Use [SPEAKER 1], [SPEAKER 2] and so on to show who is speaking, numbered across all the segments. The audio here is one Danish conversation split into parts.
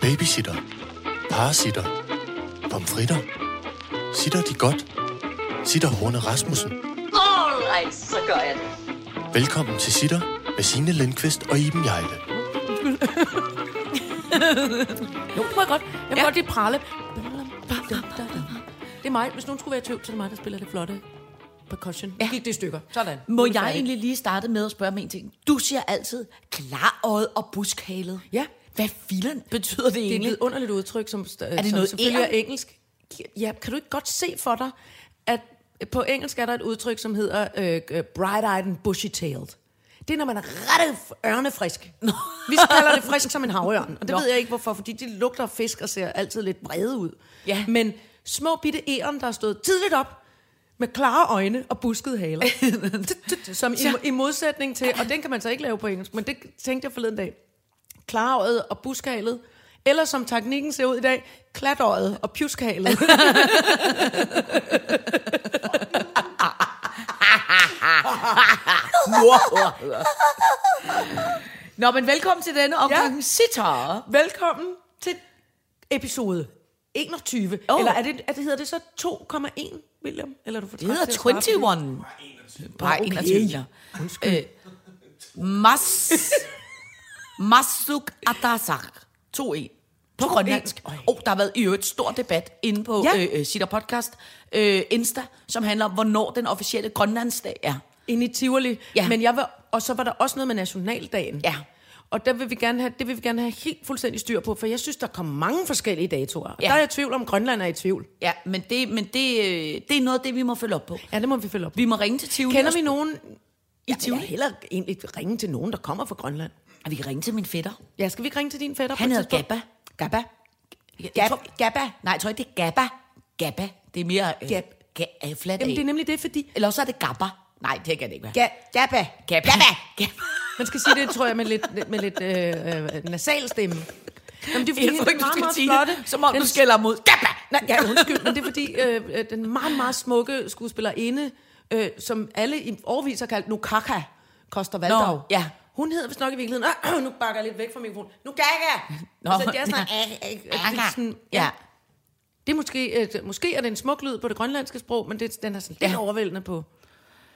[SPEAKER 1] Babysitter. Parasitter. Pomfritter. Sitter de godt? Sitter Horne Rasmussen.
[SPEAKER 2] Alright, så gør jeg det.
[SPEAKER 1] Velkommen til Sitter med Signe Lindqvist og Iben Jejle.
[SPEAKER 3] Jo, det må jeg godt. Jeg må ja. godt lige prale. Det er mig. Hvis nogen skulle være i tvivl, så er det mig, der spiller det flotte percussion. Ja. Gik det i stykker. Sådan.
[SPEAKER 4] Må
[SPEAKER 3] Nu er vi
[SPEAKER 4] jeg
[SPEAKER 3] færdige.
[SPEAKER 4] egentlig lige starte med at spørge om en ting? Du siger altid klarøjet og buskhalet.
[SPEAKER 3] Ja.
[SPEAKER 4] Hvad filen betyder det
[SPEAKER 3] Det er et
[SPEAKER 4] egentlig?
[SPEAKER 3] lidt underligt udtryk, som, er det som
[SPEAKER 4] noget
[SPEAKER 3] selvfølgelig er
[SPEAKER 4] æren?
[SPEAKER 3] engelsk. Ja, kan du ikke godt se for dig, at på engelsk er der et udtryk, som hedder øh, øh, bright-eyed and bushy-tailed. Det er, når man er ret ørnefrisk. Vi kalder det frisk som en havørn, og det
[SPEAKER 4] Nå.
[SPEAKER 3] ved jeg ikke hvorfor, fordi de lugter af fisk og ser altid lidt brede ud.
[SPEAKER 4] Ja.
[SPEAKER 3] Men små bitte æren, der har stået tidligt op, med klare øjne og buskede haler. som i, i modsætning til, og den kan man så ikke lave på engelsk, men det tænkte jeg forleden dag, klarøjet og buskhalet, eller som teknikken ser ud i dag, klatøjet og pjuskhalet.
[SPEAKER 4] Nå, men velkommen til denne omgang
[SPEAKER 3] Ja.
[SPEAKER 4] ja. sitar.
[SPEAKER 3] Velkommen til episode 21. Oh.
[SPEAKER 4] Åh.
[SPEAKER 3] Eller er det, er det, hedder det så 2,1, William? Eller er du for
[SPEAKER 4] Det
[SPEAKER 3] træt
[SPEAKER 4] hedder
[SPEAKER 3] til at svare på
[SPEAKER 4] 21. Bare
[SPEAKER 3] Okay.
[SPEAKER 4] 21. ja. Øh, Mas... Masuk Atasak. 2-1. På grønlandsk.
[SPEAKER 3] Ej.
[SPEAKER 4] Og der har været i øvrigt stor debat inde på
[SPEAKER 3] Ja.
[SPEAKER 4] E? ja. øh, Sitter Podcast øh, Insta, som handler om, hvornår den officielle Grønlandsdag er.
[SPEAKER 3] Inde i Tivoli. Ja.
[SPEAKER 4] Ja.
[SPEAKER 3] Men jeg var, og så var der også noget med nationaldagen.
[SPEAKER 4] Ja.
[SPEAKER 3] Og der vil vi gerne have, det vil vi gerne have helt fuldstændig styr på, for jeg synes, der kommer mange forskellige datoer. Ja.
[SPEAKER 4] Ja.
[SPEAKER 3] Der er jeg i tvivl om, Grønland er i tvivl.
[SPEAKER 4] Ja, men det, men det, øh, det er noget af det, vi må følge op på.
[SPEAKER 3] Ja, det må vi følge op.
[SPEAKER 4] Vi må ringe til Tivoli.
[SPEAKER 3] Kender
[SPEAKER 4] og
[SPEAKER 3] vi nogen i
[SPEAKER 4] Ja,
[SPEAKER 3] Tivoli?
[SPEAKER 4] ja.
[SPEAKER 3] hellere egentlig ringe til nogen, der kommer fra Grønland.
[SPEAKER 4] Og vi kan ringe til min fætter.
[SPEAKER 3] Ja, skal vi ikke ringe til din fætter
[SPEAKER 4] Han
[SPEAKER 3] på et
[SPEAKER 4] hedder
[SPEAKER 3] tidspunkt?
[SPEAKER 4] Gabba.
[SPEAKER 3] Gabba.
[SPEAKER 4] Gab, Gabba. Nej, jeg tror ikke, det er Gabba. Gabba. Det er mere... Øh,
[SPEAKER 3] Gab.
[SPEAKER 4] ga- øh, flat
[SPEAKER 3] Jamen, det er
[SPEAKER 4] A.
[SPEAKER 3] nemlig det, fordi...
[SPEAKER 4] Eller også er det Gabba. Nej, det kan det ikke være.
[SPEAKER 3] Gabba.
[SPEAKER 4] Gabba. Gabba.
[SPEAKER 3] Man skal sige det, tror jeg, med lidt, med lidt øh, øh, nasal stemme. Jamen, det er fordi,
[SPEAKER 4] Jeg tror
[SPEAKER 3] den
[SPEAKER 4] ikke, du
[SPEAKER 3] meget,
[SPEAKER 4] skal
[SPEAKER 3] meget
[SPEAKER 4] sige
[SPEAKER 3] flotte...
[SPEAKER 4] det, som om
[SPEAKER 3] den,
[SPEAKER 4] du skælder mod Gabba.
[SPEAKER 3] Nej, ja, undskyld, men det er fordi, øh, øh, den meget, meget smukke skuespillerinde, øh, som alle i overvis har kaldt Nukaka, Koster Valdau.
[SPEAKER 4] Nå, ja.
[SPEAKER 3] Hun hedder vist nok i virkeligheden... Øh, øh, nu bakker jeg lidt væk fra mikrofonen. Nukaka!
[SPEAKER 4] Nå,
[SPEAKER 3] altså, det er sådan...
[SPEAKER 4] ja.
[SPEAKER 3] Øh, øh, øh,
[SPEAKER 4] Gabba.
[SPEAKER 3] sådan-
[SPEAKER 4] Ja.
[SPEAKER 3] Det er måske, et, måske er det en smuk lyd på det grønlandske sprog, men det, den er sådan lidt
[SPEAKER 4] Ja.
[SPEAKER 3] overvældende på.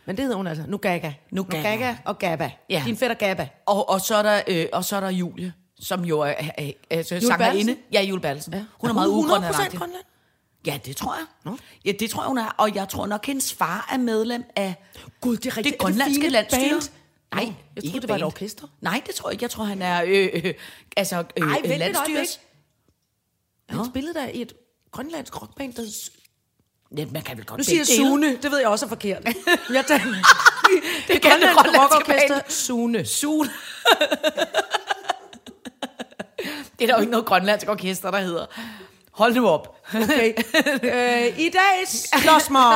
[SPEAKER 3] Men det hedder hun altså. Nugaga.
[SPEAKER 4] Nugaga.
[SPEAKER 3] og Gabba.
[SPEAKER 4] Ja.
[SPEAKER 3] Din fætter Gabba.
[SPEAKER 4] Og, og, så er der, øh, og så er der Julie, som jo er, er, er, er sangerinde.
[SPEAKER 3] Bertelsen?
[SPEAKER 4] Ja, Jule Bertelsen. Ja. Hun er meget
[SPEAKER 3] Grønland.
[SPEAKER 4] ugrønlandagtig.
[SPEAKER 3] Grønland.
[SPEAKER 4] Ja, det tror jeg. Ja, det tror jeg, hun er. Og jeg tror nok, hendes far er medlem af
[SPEAKER 3] Gud, det er rigtigt.
[SPEAKER 4] det grønlandske landsstyre. Nej,
[SPEAKER 3] Nå, jeg
[SPEAKER 4] ikke
[SPEAKER 3] troede, det var et
[SPEAKER 4] band.
[SPEAKER 3] orkester.
[SPEAKER 4] Nej, det tror jeg ikke. Jeg tror, han er øh, øh, altså, øh,
[SPEAKER 3] Ej, vent et
[SPEAKER 4] landsstyres...
[SPEAKER 3] Han spillede der i et grønlandsk rockband, der...
[SPEAKER 4] Ja, man kan vel godt
[SPEAKER 3] Nu siger jeg
[SPEAKER 4] begge dele.
[SPEAKER 3] Sune. Det ved jeg også er forkert. jeg tager... det er
[SPEAKER 4] grønlandske
[SPEAKER 3] grønlandske rockorkester.
[SPEAKER 4] band.
[SPEAKER 3] Sune.
[SPEAKER 4] Sune. det er der jo ikke noget grønlandsk orkester, der hedder. Hold nu op.
[SPEAKER 3] Okay. øh, I dag slås mig.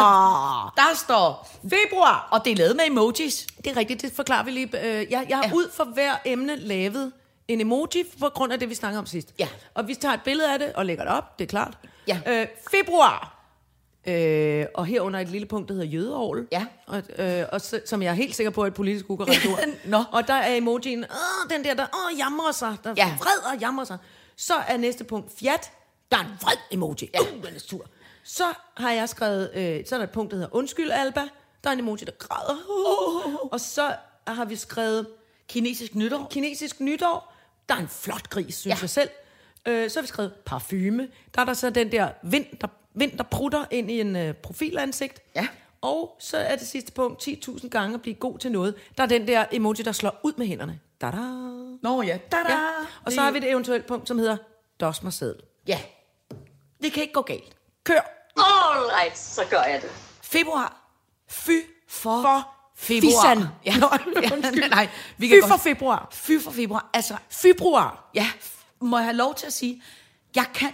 [SPEAKER 4] Der står...
[SPEAKER 3] Februar.
[SPEAKER 4] Og det er lavet med emojis.
[SPEAKER 3] Det er rigtigt, det forklarer vi lige. Øh, Jeg, jeg har ja.
[SPEAKER 4] Ja.
[SPEAKER 3] ud for hver emne lavet en emoji på grund af det, vi snakkede om sidst.
[SPEAKER 4] Ja.
[SPEAKER 3] Og vi tager et billede af det og lægger det op, det er klart.
[SPEAKER 4] Ja.
[SPEAKER 3] Øh, februar. Øh, og herunder et lille punkt, der hedder jødeovl.
[SPEAKER 4] Ja.
[SPEAKER 3] Og, øh, og så, som jeg er helt sikker på er et politisk ukorrekt ord.
[SPEAKER 4] Nå.
[SPEAKER 3] Og der er emojien, Åh, den der, der åh, jamrer sig, der ja.
[SPEAKER 4] Ja.
[SPEAKER 3] vred og jamrer sig. Så er næste punkt fjat. Der er en vred emoji. Ja. Uh, den er sur. Så har jeg skrevet, øh, så er der et punkt, der hedder undskyld, Alba. Der er en emoji, der græder. Uh. Og så har vi skrevet
[SPEAKER 4] Kinesisk nytår.
[SPEAKER 3] kinesisk nytår. Der er en flot gris, synes ja.
[SPEAKER 4] Ja.
[SPEAKER 3] jeg selv. Øh, så har vi skrevet parfume. Der er der så den der vind, der, vind, der prutter ind i en øh, profilansigt.
[SPEAKER 4] Ja.
[SPEAKER 3] Og så er det sidste punkt, 10.000 gange at blive god til noget. Der er den der emoji, der slår ud med hænderne. Da -da.
[SPEAKER 4] Nå ja. Da -da.
[SPEAKER 3] Ja. Og så har vi et eventuelt punkt, som hedder dos mig sædel.
[SPEAKER 4] Ja. Det kan ikke gå galt.
[SPEAKER 3] Kør!
[SPEAKER 2] Alright, så gør jeg det.
[SPEAKER 4] Februar. Fy for,
[SPEAKER 3] For
[SPEAKER 4] februar.
[SPEAKER 3] fisan.
[SPEAKER 4] Ja.
[SPEAKER 3] Nå,
[SPEAKER 4] ja, nej, vi
[SPEAKER 3] Fy
[SPEAKER 4] kan
[SPEAKER 3] for
[SPEAKER 4] godt-
[SPEAKER 3] februar.
[SPEAKER 4] Fy for februar. Altså,
[SPEAKER 3] Februar.
[SPEAKER 4] ja, f- må jeg have lov til at sige, jeg kan,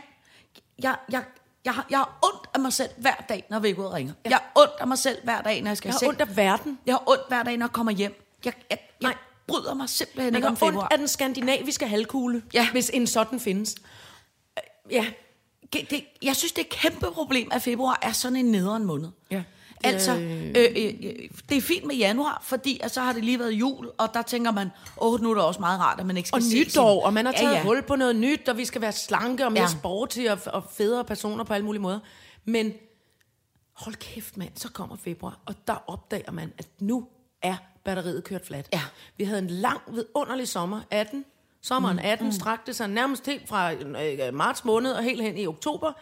[SPEAKER 4] jeg, jeg, jeg, har, jeg har ondt af mig selv hver dag, når vækkeuret ringer. Ja. Jeg har ondt af mig selv hver dag, når jeg skal
[SPEAKER 3] Jeg
[SPEAKER 4] i
[SPEAKER 3] har
[SPEAKER 4] seng.
[SPEAKER 3] ondt af verden.
[SPEAKER 4] Jeg har ondt hver dag, når jeg kommer hjem. Jeg, jeg, jeg
[SPEAKER 3] Nej.
[SPEAKER 4] bryder mig simpelthen
[SPEAKER 3] Man
[SPEAKER 4] ikke om
[SPEAKER 3] har ondt
[SPEAKER 4] februar.
[SPEAKER 3] af den skandinaviske halvkugle,
[SPEAKER 4] Ja.
[SPEAKER 3] hvis en sådan findes. Øh, Ja,
[SPEAKER 4] Det, det, jeg synes, det er et kæmpe problem, at februar er sådan en nederen måned.
[SPEAKER 3] Ja.
[SPEAKER 4] Altså, øh, øh, øh, det er fint med januar, fordi at så har det lige været jul, og der tænker man, åh, nu er det også meget rart, at man ikke skal
[SPEAKER 3] Og
[SPEAKER 4] se
[SPEAKER 3] nytår,
[SPEAKER 4] sin-
[SPEAKER 3] og man har taget
[SPEAKER 4] ja, ja.
[SPEAKER 3] hul på noget nyt, og vi skal være slanke og mere
[SPEAKER 4] Ja.
[SPEAKER 3] ja. sportige og, og federe personer på alle mulige måder. Men hold kæft, mand, så kommer februar, og der opdager man, at nu er batteriet kørt fladt.
[SPEAKER 4] Ja.
[SPEAKER 3] Vi havde en lang, vidunderlig sommer, 18.
[SPEAKER 4] Mm.
[SPEAKER 3] Sommeren 18 strakte sig nærmest helt fra øh, marts måned og helt hen i oktober.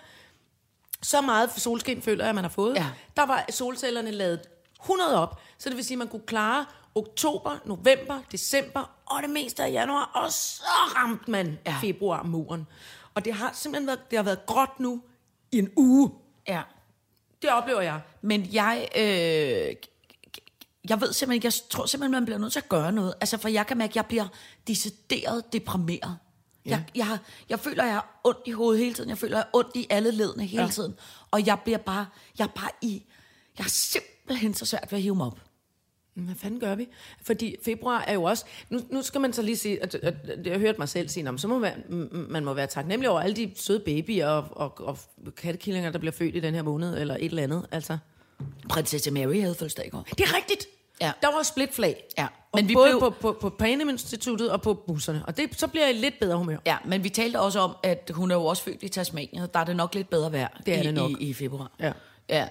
[SPEAKER 3] Så meget solskin føler jeg, man har fået.
[SPEAKER 4] Ja.
[SPEAKER 3] Der var solcellerne lavet 100 op, så det vil sige, at man kunne klare oktober, november, december og det meste af januar, og så ramte man ja.
[SPEAKER 4] Ja.
[SPEAKER 3] februar muren. Og det har simpelthen været, det har været gråt nu i en uge.
[SPEAKER 4] Ja.
[SPEAKER 3] Det oplever jeg.
[SPEAKER 4] Men jeg... Øh, jeg ved simpelthen ikke, jeg tror simpelthen, man bliver nødt til at gøre noget. Altså, for jeg kan mærke, at jeg bliver decideret deprimeret. Ja. Jeg, jeg, har- jeg føler, jeg har ondt i hovedet hele tiden. Jeg føler, jeg har ondt i alle ledene hele
[SPEAKER 3] Ja.
[SPEAKER 4] ja. tiden. Og jeg bliver bare, jeg er bare i... Jeg har simpelthen så svært ved at hive mig op.
[SPEAKER 3] Hvad fanden gør vi? Fordi februar er jo også... Nu, nu skal man så lige sige... At, at, at jeg hørte mig selv sige, "Nå, men så må man, m- man må være taknemmelig over alle de søde babyer og, og, og kattekillinger, der bliver født i den her måned, eller et eller andet. Altså.
[SPEAKER 4] Prinsesse Mary havde fødselsdag i går.
[SPEAKER 3] Det er rigtigt.
[SPEAKER 4] Ja.
[SPEAKER 3] Der var splitflag.
[SPEAKER 4] Ja.
[SPEAKER 3] Men
[SPEAKER 4] Men
[SPEAKER 3] og vi
[SPEAKER 4] vi
[SPEAKER 3] både
[SPEAKER 4] blev-
[SPEAKER 3] på, på, på Panem-instituttet og på busserne. Og det, så bliver jeg i lidt bedre humør.
[SPEAKER 4] Ja, men vi talte også om, at hun er jo også født i Tasmanien, og der er det nok lidt bedre vejr
[SPEAKER 3] Det er
[SPEAKER 4] i,
[SPEAKER 3] det nok.
[SPEAKER 4] I, i februar.
[SPEAKER 3] Ja.
[SPEAKER 4] ja.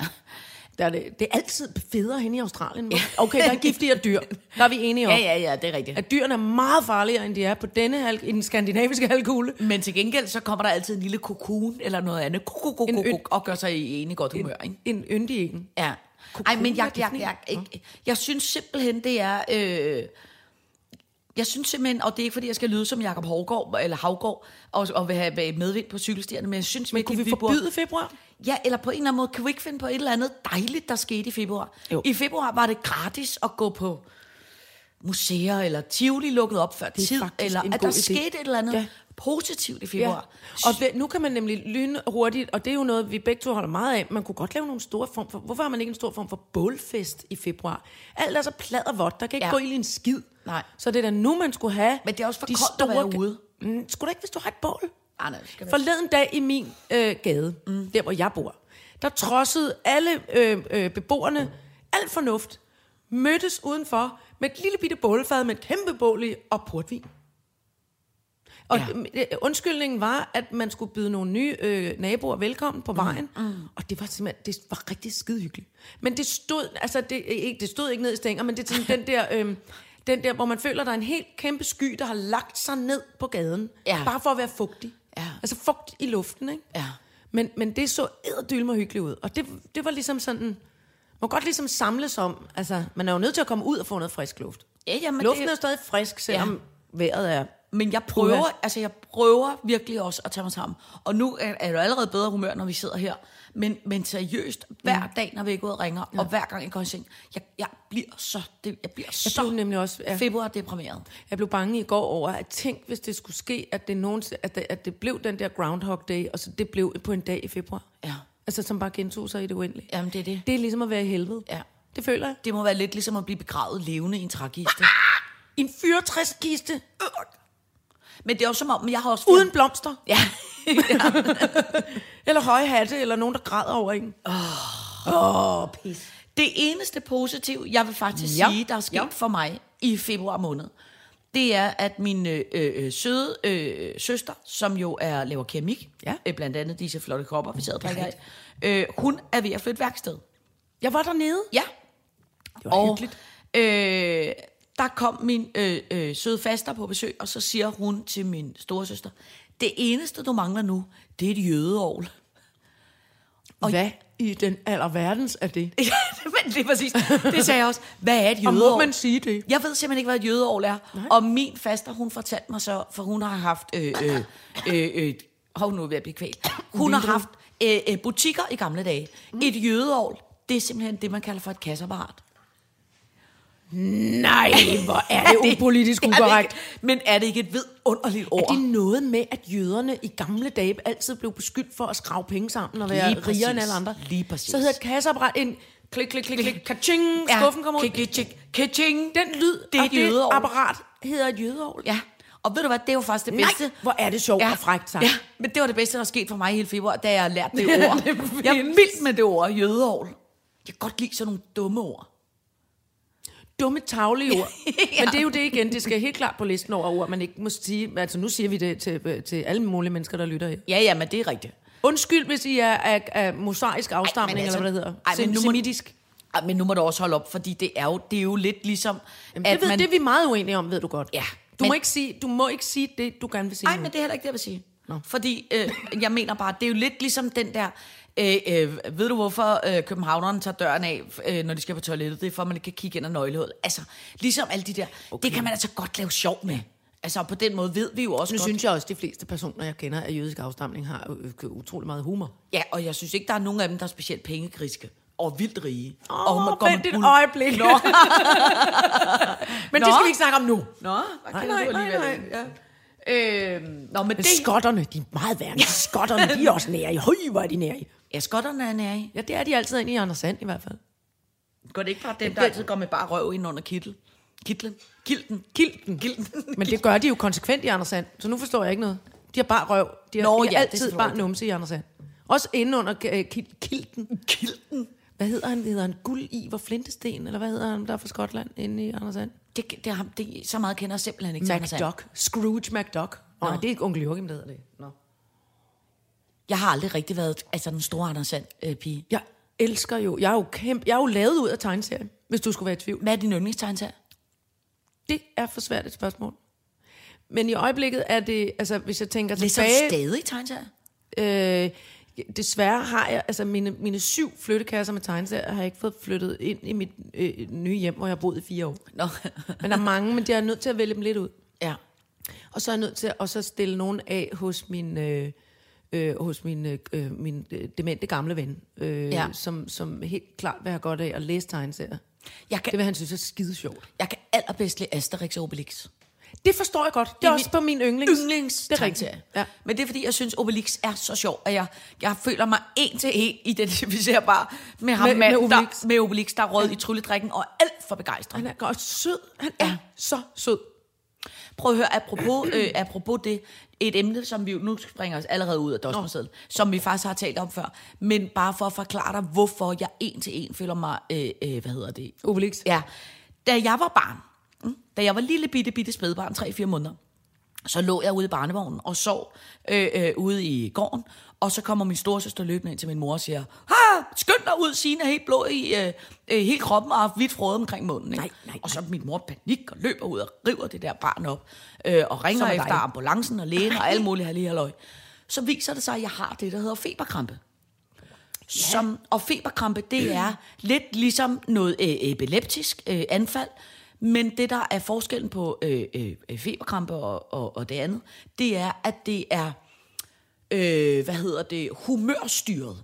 [SPEAKER 3] Der er det, det er altid federe hen i Australien. hvor- Okay, der er giftigere dyr. Der er vi enige om.
[SPEAKER 4] Ja, ja, ja, det er rigtigt.
[SPEAKER 3] At dyrene er meget farligere, end de er på denne halv, i den skandinaviske halvkugle.
[SPEAKER 4] Men til gengæld, så kommer der altid en lille kokon eller noget andet, kuk, kuk, kuk,
[SPEAKER 3] En
[SPEAKER 4] kuk,
[SPEAKER 3] øl.
[SPEAKER 4] kuk, og gør sig i enig godt humør, ikke?
[SPEAKER 3] En yndig en.
[SPEAKER 4] Ja. Ej, men jeg, jeg, jeg, jeg, jeg synes simpelthen, det er... Øh, jeg synes simpelthen, og det er ikke fordi, jeg skal lyde som Jakob Havgård, eller Havgård, og, og vil have medvind på cykelstierne, men jeg synes
[SPEAKER 3] Men
[SPEAKER 4] virkelig,
[SPEAKER 3] kunne vi
[SPEAKER 4] burde-
[SPEAKER 3] forbyde februar?
[SPEAKER 4] Ja, eller på en eller anden måde, kan vi ikke finde på et eller andet dejligt, der skete i februar?
[SPEAKER 3] Jo.
[SPEAKER 4] Jo. I februar var det gratis at gå på museer, eller Tivoli lukket op før
[SPEAKER 3] er
[SPEAKER 4] tid,
[SPEAKER 3] faktisk
[SPEAKER 4] eller
[SPEAKER 3] en
[SPEAKER 4] at der
[SPEAKER 3] god idé.
[SPEAKER 4] skete et eller andet
[SPEAKER 3] Ja.
[SPEAKER 4] ja. positivt i
[SPEAKER 3] Ja.
[SPEAKER 4] februar.
[SPEAKER 3] Og ved, nu kan man nemlig lyne hurtigt, og det er jo noget, vi begge to holder meget af. Man kunne godt lave nogle store form for... Hvorfor har man ikke en stor form for bålfest i februar? Alt er så plad og vådt. Der kan ikke ja.
[SPEAKER 4] Ja.
[SPEAKER 3] gå ild i en skid.
[SPEAKER 4] Nej.
[SPEAKER 3] Så det er da nu, man skulle have...
[SPEAKER 4] Men det er også for koldt at være ude.
[SPEAKER 3] Mm, skulle da ikke, hvis du har et bål?
[SPEAKER 4] Ej, nej, det skal være-
[SPEAKER 3] Forleden dag i min øh, gade, mm. der hvor jeg bor, der trodsede alle øh, øh, beboerne alt fornuft, mødtes udenfor med et lille bitte bålfad med et kæmpe bål i og portvin. Og
[SPEAKER 4] Ja.
[SPEAKER 3] ja. undskyldningen var, at man skulle byde nogle nye øh, naboer velkommen på vejen. Mm, mm. Og det var simpelthen, det var rigtig skide hyggeligt. Men det stod, altså det, ikke, det stod ikke ned i stænger, men det er sådan den der, øh, den der, hvor man føler, der er en helt kæmpe sky, der har lagt sig ned på gaden.
[SPEAKER 4] Ja.
[SPEAKER 3] Bare for at være fugtig.
[SPEAKER 4] Ja.
[SPEAKER 3] Altså fugt i luften, ikke?
[SPEAKER 4] Ja.
[SPEAKER 3] Men, men det så edderdyl og hyggeligt ud. Og det, det var ligesom sådan, man godt ligesom samles om, altså man er jo nødt til at komme ud og få noget frisk luft.
[SPEAKER 4] Ja, ja, men
[SPEAKER 3] Luften
[SPEAKER 4] det-
[SPEAKER 3] er jo stadig frisk, selvom ja. vejret er
[SPEAKER 4] Men jeg prøver, altså jeg prøver virkelig også at tage mig sammen. Og nu er, er jeg jo allerede bedre humør, når vi sidder her. Men, men seriøst,
[SPEAKER 3] Mm.
[SPEAKER 4] hver dag, når vi er gået og ringer, ja. og hver gang jeg går i seng, jeg, jeg bliver så, det, jeg bliver
[SPEAKER 3] Jeg
[SPEAKER 4] så
[SPEAKER 3] blev nemlig også... Ja.
[SPEAKER 4] februar deprimeret.
[SPEAKER 3] Jeg blev bange i går over, at tænk, hvis det skulle ske, at det, nogensinde, at det, at det blev den der Groundhog Day, og så det blev på en dag i februar.
[SPEAKER 4] Ja.
[SPEAKER 3] Altså, som bare gentog sig i det uendelige.
[SPEAKER 4] Jamen, det er det.
[SPEAKER 3] Det er ligesom at være i helvede.
[SPEAKER 4] Ja.
[SPEAKER 3] Det føler jeg.
[SPEAKER 4] Det må være lidt ligesom at blive begravet levende i en trækiste.
[SPEAKER 3] I en 64 kiste
[SPEAKER 4] Men det er jo som om, men jeg har også...
[SPEAKER 3] uden blomster.
[SPEAKER 4] Øh, Ja.
[SPEAKER 3] Eller høje hatte, eller nogen, der græder over en.
[SPEAKER 4] Det eneste positive, jeg vil faktisk
[SPEAKER 3] Ja.
[SPEAKER 4] ja. sige, der er sket
[SPEAKER 3] Ja.
[SPEAKER 4] ja. for mig i februar måned, det er, at min øh, øh, søde øh, søster, som jo er laver keramik,
[SPEAKER 3] Ja.
[SPEAKER 4] øh, blandt andet disse flotte kopper, vi sidder og drikker af, øh, hun er ved at flytte værksted.
[SPEAKER 3] Jeg var dernede.
[SPEAKER 4] Ja,
[SPEAKER 3] Det var
[SPEAKER 4] og
[SPEAKER 3] hyggeligt.
[SPEAKER 4] øh, der kom min øh, øh, søde faster på besøg, og så siger hun til min store søster, det eneste, du mangler nu, det er et jødeovl.
[SPEAKER 3] Og Hvad i den alververdens er det?
[SPEAKER 4] Ja, men det er præcis. Det sagde jeg også. Hvad er et
[SPEAKER 3] Og
[SPEAKER 4] jødeår?
[SPEAKER 3] må man sige det?
[SPEAKER 4] Jeg ved simpelthen ikke, hvad et jødeår er. Nej. Og min faster, hun fortalte mig så, for hun har haft... Øh, øh, øh, øh, hov, nu er jeg ved at blive kvalt. Hun har haft øh, øh, butikker i gamle dage. Mm. Et jødeår, det er simpelthen det, man kalder for et kasseapparat.
[SPEAKER 3] Nej, hvor er det upolitisk
[SPEAKER 4] Er det
[SPEAKER 3] ukorrekt.
[SPEAKER 4] ikke- Men er det ikke et vidunderligt ord?
[SPEAKER 3] Er det noget med, at jøderne i gamle dage altid blev beskyldt for at skrave penge sammen og være
[SPEAKER 4] Lige præcis.
[SPEAKER 3] rigere end alle andre?
[SPEAKER 4] Lige præcis.
[SPEAKER 3] Så hedder et kasseapparat ind. Klik, klik, klik, klik. Kaching.
[SPEAKER 4] Ja.
[SPEAKER 3] Skuffen kommer ud.
[SPEAKER 4] Klik, klik, klik. Kaching.
[SPEAKER 3] Den lyd
[SPEAKER 4] Det er
[SPEAKER 3] af
[SPEAKER 4] et jødeovl.
[SPEAKER 3] det apparat hedder et jødeovl.
[SPEAKER 4] Ja. Og ved du hvad, det er jo faktisk det
[SPEAKER 3] Nej,
[SPEAKER 4] bedste.
[SPEAKER 3] hvor er det sjovt ja. og frækt sagt.
[SPEAKER 4] Ja, men det var det bedste, der er sket for mig i hele februar, da jeg lærte det
[SPEAKER 3] Ja,
[SPEAKER 4] ord.
[SPEAKER 3] det
[SPEAKER 4] jeg er vild med det ord, jødeovl. Jeg kan godt lide sådan nogle dumme ord.
[SPEAKER 3] dumme tavlige ord. Men det er jo det igen, det skal helt klart på listen over ord, man ikke må sige. Altså nu siger vi det til, til alle mulige mennesker, der lytter her.
[SPEAKER 4] Ja, ja, men det er rigtigt.
[SPEAKER 3] Undskyld, hvis I er af, af mosaisk afstamning,
[SPEAKER 4] altså-
[SPEAKER 3] altså, eller hvad det hedder.
[SPEAKER 4] Ej, men nu må-
[SPEAKER 3] Semitisk.
[SPEAKER 4] Ej, Ah, men nu må du også holde op, fordi det er jo, det er jo lidt ligesom... Jamen,
[SPEAKER 3] Det, ved, man... det er vi meget uenige om, ved du godt.
[SPEAKER 4] Ja,
[SPEAKER 3] Du,
[SPEAKER 4] men-
[SPEAKER 3] må ikke sige, du må ikke sige det, du gerne vil sige.
[SPEAKER 4] Nej,
[SPEAKER 3] nu.
[SPEAKER 4] men det er heller ikke det, jeg vil sige. Nå. Fordi øh, jeg mener bare, det er jo lidt ligesom den der... Øh, øh, ved du, hvorfor øh, københavnerne tager døren af, øh, når de skal på toilettet? Det er for, at man ikke kan kigge ind ad nøglehullet. Altså, ligesom alle de der... Okay. Det kan man altså godt lave sjov med. Altså, og på den måde ved vi jo også
[SPEAKER 3] Nu
[SPEAKER 4] godt...
[SPEAKER 3] synes jeg også, at de fleste personer, jeg kender af jødisk afstamning, har øh, øh, utrolig meget humor.
[SPEAKER 4] Ja, og jeg synes ikke, der er nogen af dem, der er specielt pengegriske og vildt rige.
[SPEAKER 3] Åh,
[SPEAKER 4] og
[SPEAKER 3] oh,
[SPEAKER 4] går med
[SPEAKER 3] vent et
[SPEAKER 4] bul-
[SPEAKER 3] øjeblik. Nå. men Nå.
[SPEAKER 4] Nå.
[SPEAKER 3] det skal vi ikke snakke om nu.
[SPEAKER 4] Nå, hvad kan du alligevel ikke?
[SPEAKER 3] Ja.
[SPEAKER 4] Øhm, Nå, men
[SPEAKER 3] Men
[SPEAKER 4] det...
[SPEAKER 3] skotterne, de er meget værre. end Skotterne, de er også nære i. Høj, hvor er de nære i.
[SPEAKER 4] Ja, skotterne er nære i.
[SPEAKER 3] Ja, det er de altid inde i Anders Sand i hvert fald.
[SPEAKER 4] Går det ikke bare dem, der altid går med bare røv ind under kittel? Kitlen? Kilten? Kilten? Kilten?
[SPEAKER 3] Men det gør de jo konsekvent i Anders Sand, så nu forstår jeg ikke noget. De har bare røv. De har,
[SPEAKER 4] Nå,
[SPEAKER 3] Nå, de
[SPEAKER 4] ja,
[SPEAKER 3] har
[SPEAKER 4] det er
[SPEAKER 3] altid bare
[SPEAKER 4] selvfølgelig
[SPEAKER 3] numse i Anders Sand. Også inde under øh, kil- kilten.
[SPEAKER 4] Kilten?
[SPEAKER 3] Hvad hedder han? Hedder han Guld Iver Flintesten? Eller hvad hedder han, der er fra Skotland inde i Anders Sand?
[SPEAKER 4] Det, det, er ham, det, så meget kender jeg simpelthen ikke. til altså. Anders And.
[SPEAKER 3] MacDuck. Scrooge MacDuck. Nå, nej, det er ikke onkel Joachim, der hedder det. Nå.
[SPEAKER 4] Jeg har aldrig rigtig været altså, den store Anders Sand øh, pige.
[SPEAKER 3] Jeg elsker jo... Jeg er jo, kæmpe, jeg er jo lavet ud af tegneserien, hvis du skulle være i tvivl.
[SPEAKER 4] Hvad er din yndlingstegneserie?
[SPEAKER 3] Det er for svært et spørgsmål. Men i øjeblikket er det... Altså, hvis jeg tænker
[SPEAKER 4] Læser
[SPEAKER 3] tilbage...
[SPEAKER 4] du stadig tegneserier?
[SPEAKER 3] Øh, desværre har jeg, altså mine, mine syv flyttekasser med tegneserier, har jeg ikke fået flyttet ind i mit øh, nye hjem, hvor jeg har boet i fire år.
[SPEAKER 4] Nå.
[SPEAKER 3] Men der er mange, men jeg er nødt til at vælge dem lidt ud.
[SPEAKER 4] ja.
[SPEAKER 3] Og så er jeg nødt til at så stille nogen af hos min, øh, øh, hos min, øh, øh, min øh, demente gamle ven, øh,
[SPEAKER 4] Ja.
[SPEAKER 3] ja. som, som helt klart vil have godt af at læse tegneserier.
[SPEAKER 4] Jeg
[SPEAKER 3] Det
[SPEAKER 4] kan,
[SPEAKER 3] vil han synes er skide sjovt.
[SPEAKER 4] jeg kan allerbedst lide Asterix og Obelix.
[SPEAKER 3] Det forstår jeg godt. Det er,
[SPEAKER 4] Det er
[SPEAKER 3] også
[SPEAKER 4] min
[SPEAKER 3] på min yndlings.
[SPEAKER 4] yndlings
[SPEAKER 3] Det er rigtigt.
[SPEAKER 4] Ja.
[SPEAKER 3] Ja.
[SPEAKER 4] Men det er fordi, jeg synes, Obelix er så sjov, at jeg, jeg føler mig en til en identificerbar med ham med,
[SPEAKER 3] Med-
[SPEAKER 4] mand,
[SPEAKER 3] med
[SPEAKER 4] med Obelix.
[SPEAKER 3] Obelix.
[SPEAKER 4] Der, med Obelix, der er rød i trylledrikken og alt for begejstret.
[SPEAKER 3] Han er godt sød. Han er
[SPEAKER 4] Ja.
[SPEAKER 3] ja. så sød.
[SPEAKER 4] Prøv at høre, apropos, øh, apropos det, et emne, som vi jo- nu springer os allerede ud af dosmersedlen, som vi faktisk har talt om før, men bare for at forklare dig, hvorfor jeg en til en føler mig, øh, øh, hvad hedder det?
[SPEAKER 3] Obelix.
[SPEAKER 4] Ja. Da jeg var barn, mm, da jeg var lille bitte, bitte spædbarn, 3-4 måneder, så lå jeg ude i barnevognen og sov øh, øh, ude i gården, og så kommer min storesøster løbende ind til min mor og siger, ha, skynd dig ud, Signe er helt blå i øh, øh, hele kroppen og har hvidt frode omkring munden. Ikke?
[SPEAKER 3] Nej, nej,
[SPEAKER 4] og så min mor i panik og løber ud og river det der barn op, øh, og ringer
[SPEAKER 3] Som er
[SPEAKER 4] efter
[SPEAKER 3] dig.
[SPEAKER 4] ambulancen og lægen og alle mulige halvøj. Så viser det sig, at jeg har det, der hedder feberkrampe. Som, og feberkrampe, det er lidt ligesom noget øh, epileptisk øh, anfald, men det, der er forskellen på øh, øh, øh, feberkrampe og, og, og det andet, det er, at det er, øh, hvad hedder det, humørstyret.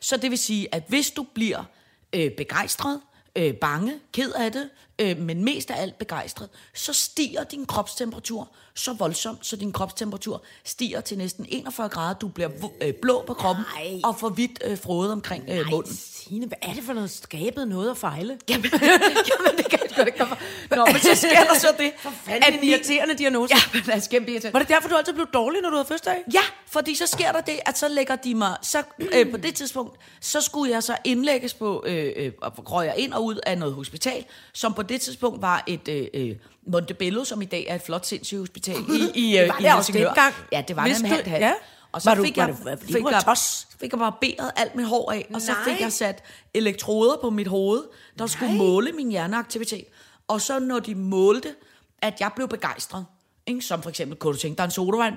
[SPEAKER 4] Så det vil sige, at hvis du bliver øh, begejstret, øh, bange, ked af det, øh, men mest af alt begejstret, så stiger din kropstemperatur så voldsomt, så din kropstemperatur stiger til næsten 41 grader. Du bliver v- øh, blå på kroppen
[SPEAKER 3] Nej.
[SPEAKER 4] og får hvidt øh, frode omkring øh, munden.
[SPEAKER 3] Signe, hvad er det for noget skabet noget at fejle?
[SPEAKER 4] Jamen, jamen, det kan jeg godt ikke komme for. Nå, men så sker der så det.
[SPEAKER 3] For fanden, en
[SPEAKER 4] min-
[SPEAKER 3] irriterende diagnose.
[SPEAKER 4] Ja, men altså, kæmpe irriterende.
[SPEAKER 3] Var det derfor, du altid blev dårlig, når du havde fødselsdag?
[SPEAKER 4] Ja, fordi så sker der det, at så lægger de mig... Så, øh, på det tidspunkt, så skulle jeg så indlægges på... Øh, øh, og røg jeg ind og ud af noget hospital, som på det tidspunkt var et øh, øh, Montebello, som i dag er et flot sindssygt hospital i, i, øh,
[SPEAKER 3] Det var
[SPEAKER 4] i
[SPEAKER 3] det også
[SPEAKER 4] Helsingør.
[SPEAKER 3] dengang.
[SPEAKER 4] Ja, det var
[SPEAKER 3] Vidste
[SPEAKER 4] det
[SPEAKER 3] du-
[SPEAKER 4] halvt halvt.
[SPEAKER 3] ja.
[SPEAKER 4] Og så
[SPEAKER 3] Var du-
[SPEAKER 4] fik
[SPEAKER 3] var
[SPEAKER 4] jeg,
[SPEAKER 3] du- var- fordi
[SPEAKER 4] fik,
[SPEAKER 3] du var
[SPEAKER 4] jeg,
[SPEAKER 3] tos?
[SPEAKER 4] fik jeg barberet alt mit hår af, og så
[SPEAKER 3] Nej.
[SPEAKER 4] fik jeg sat elektroder på mit hoved, der Nej. skulle måle min hjerneaktivitet. Og så når de målte, at jeg blev begejstret, ikke? som for eksempel, kunne du tænke dig en sodavand?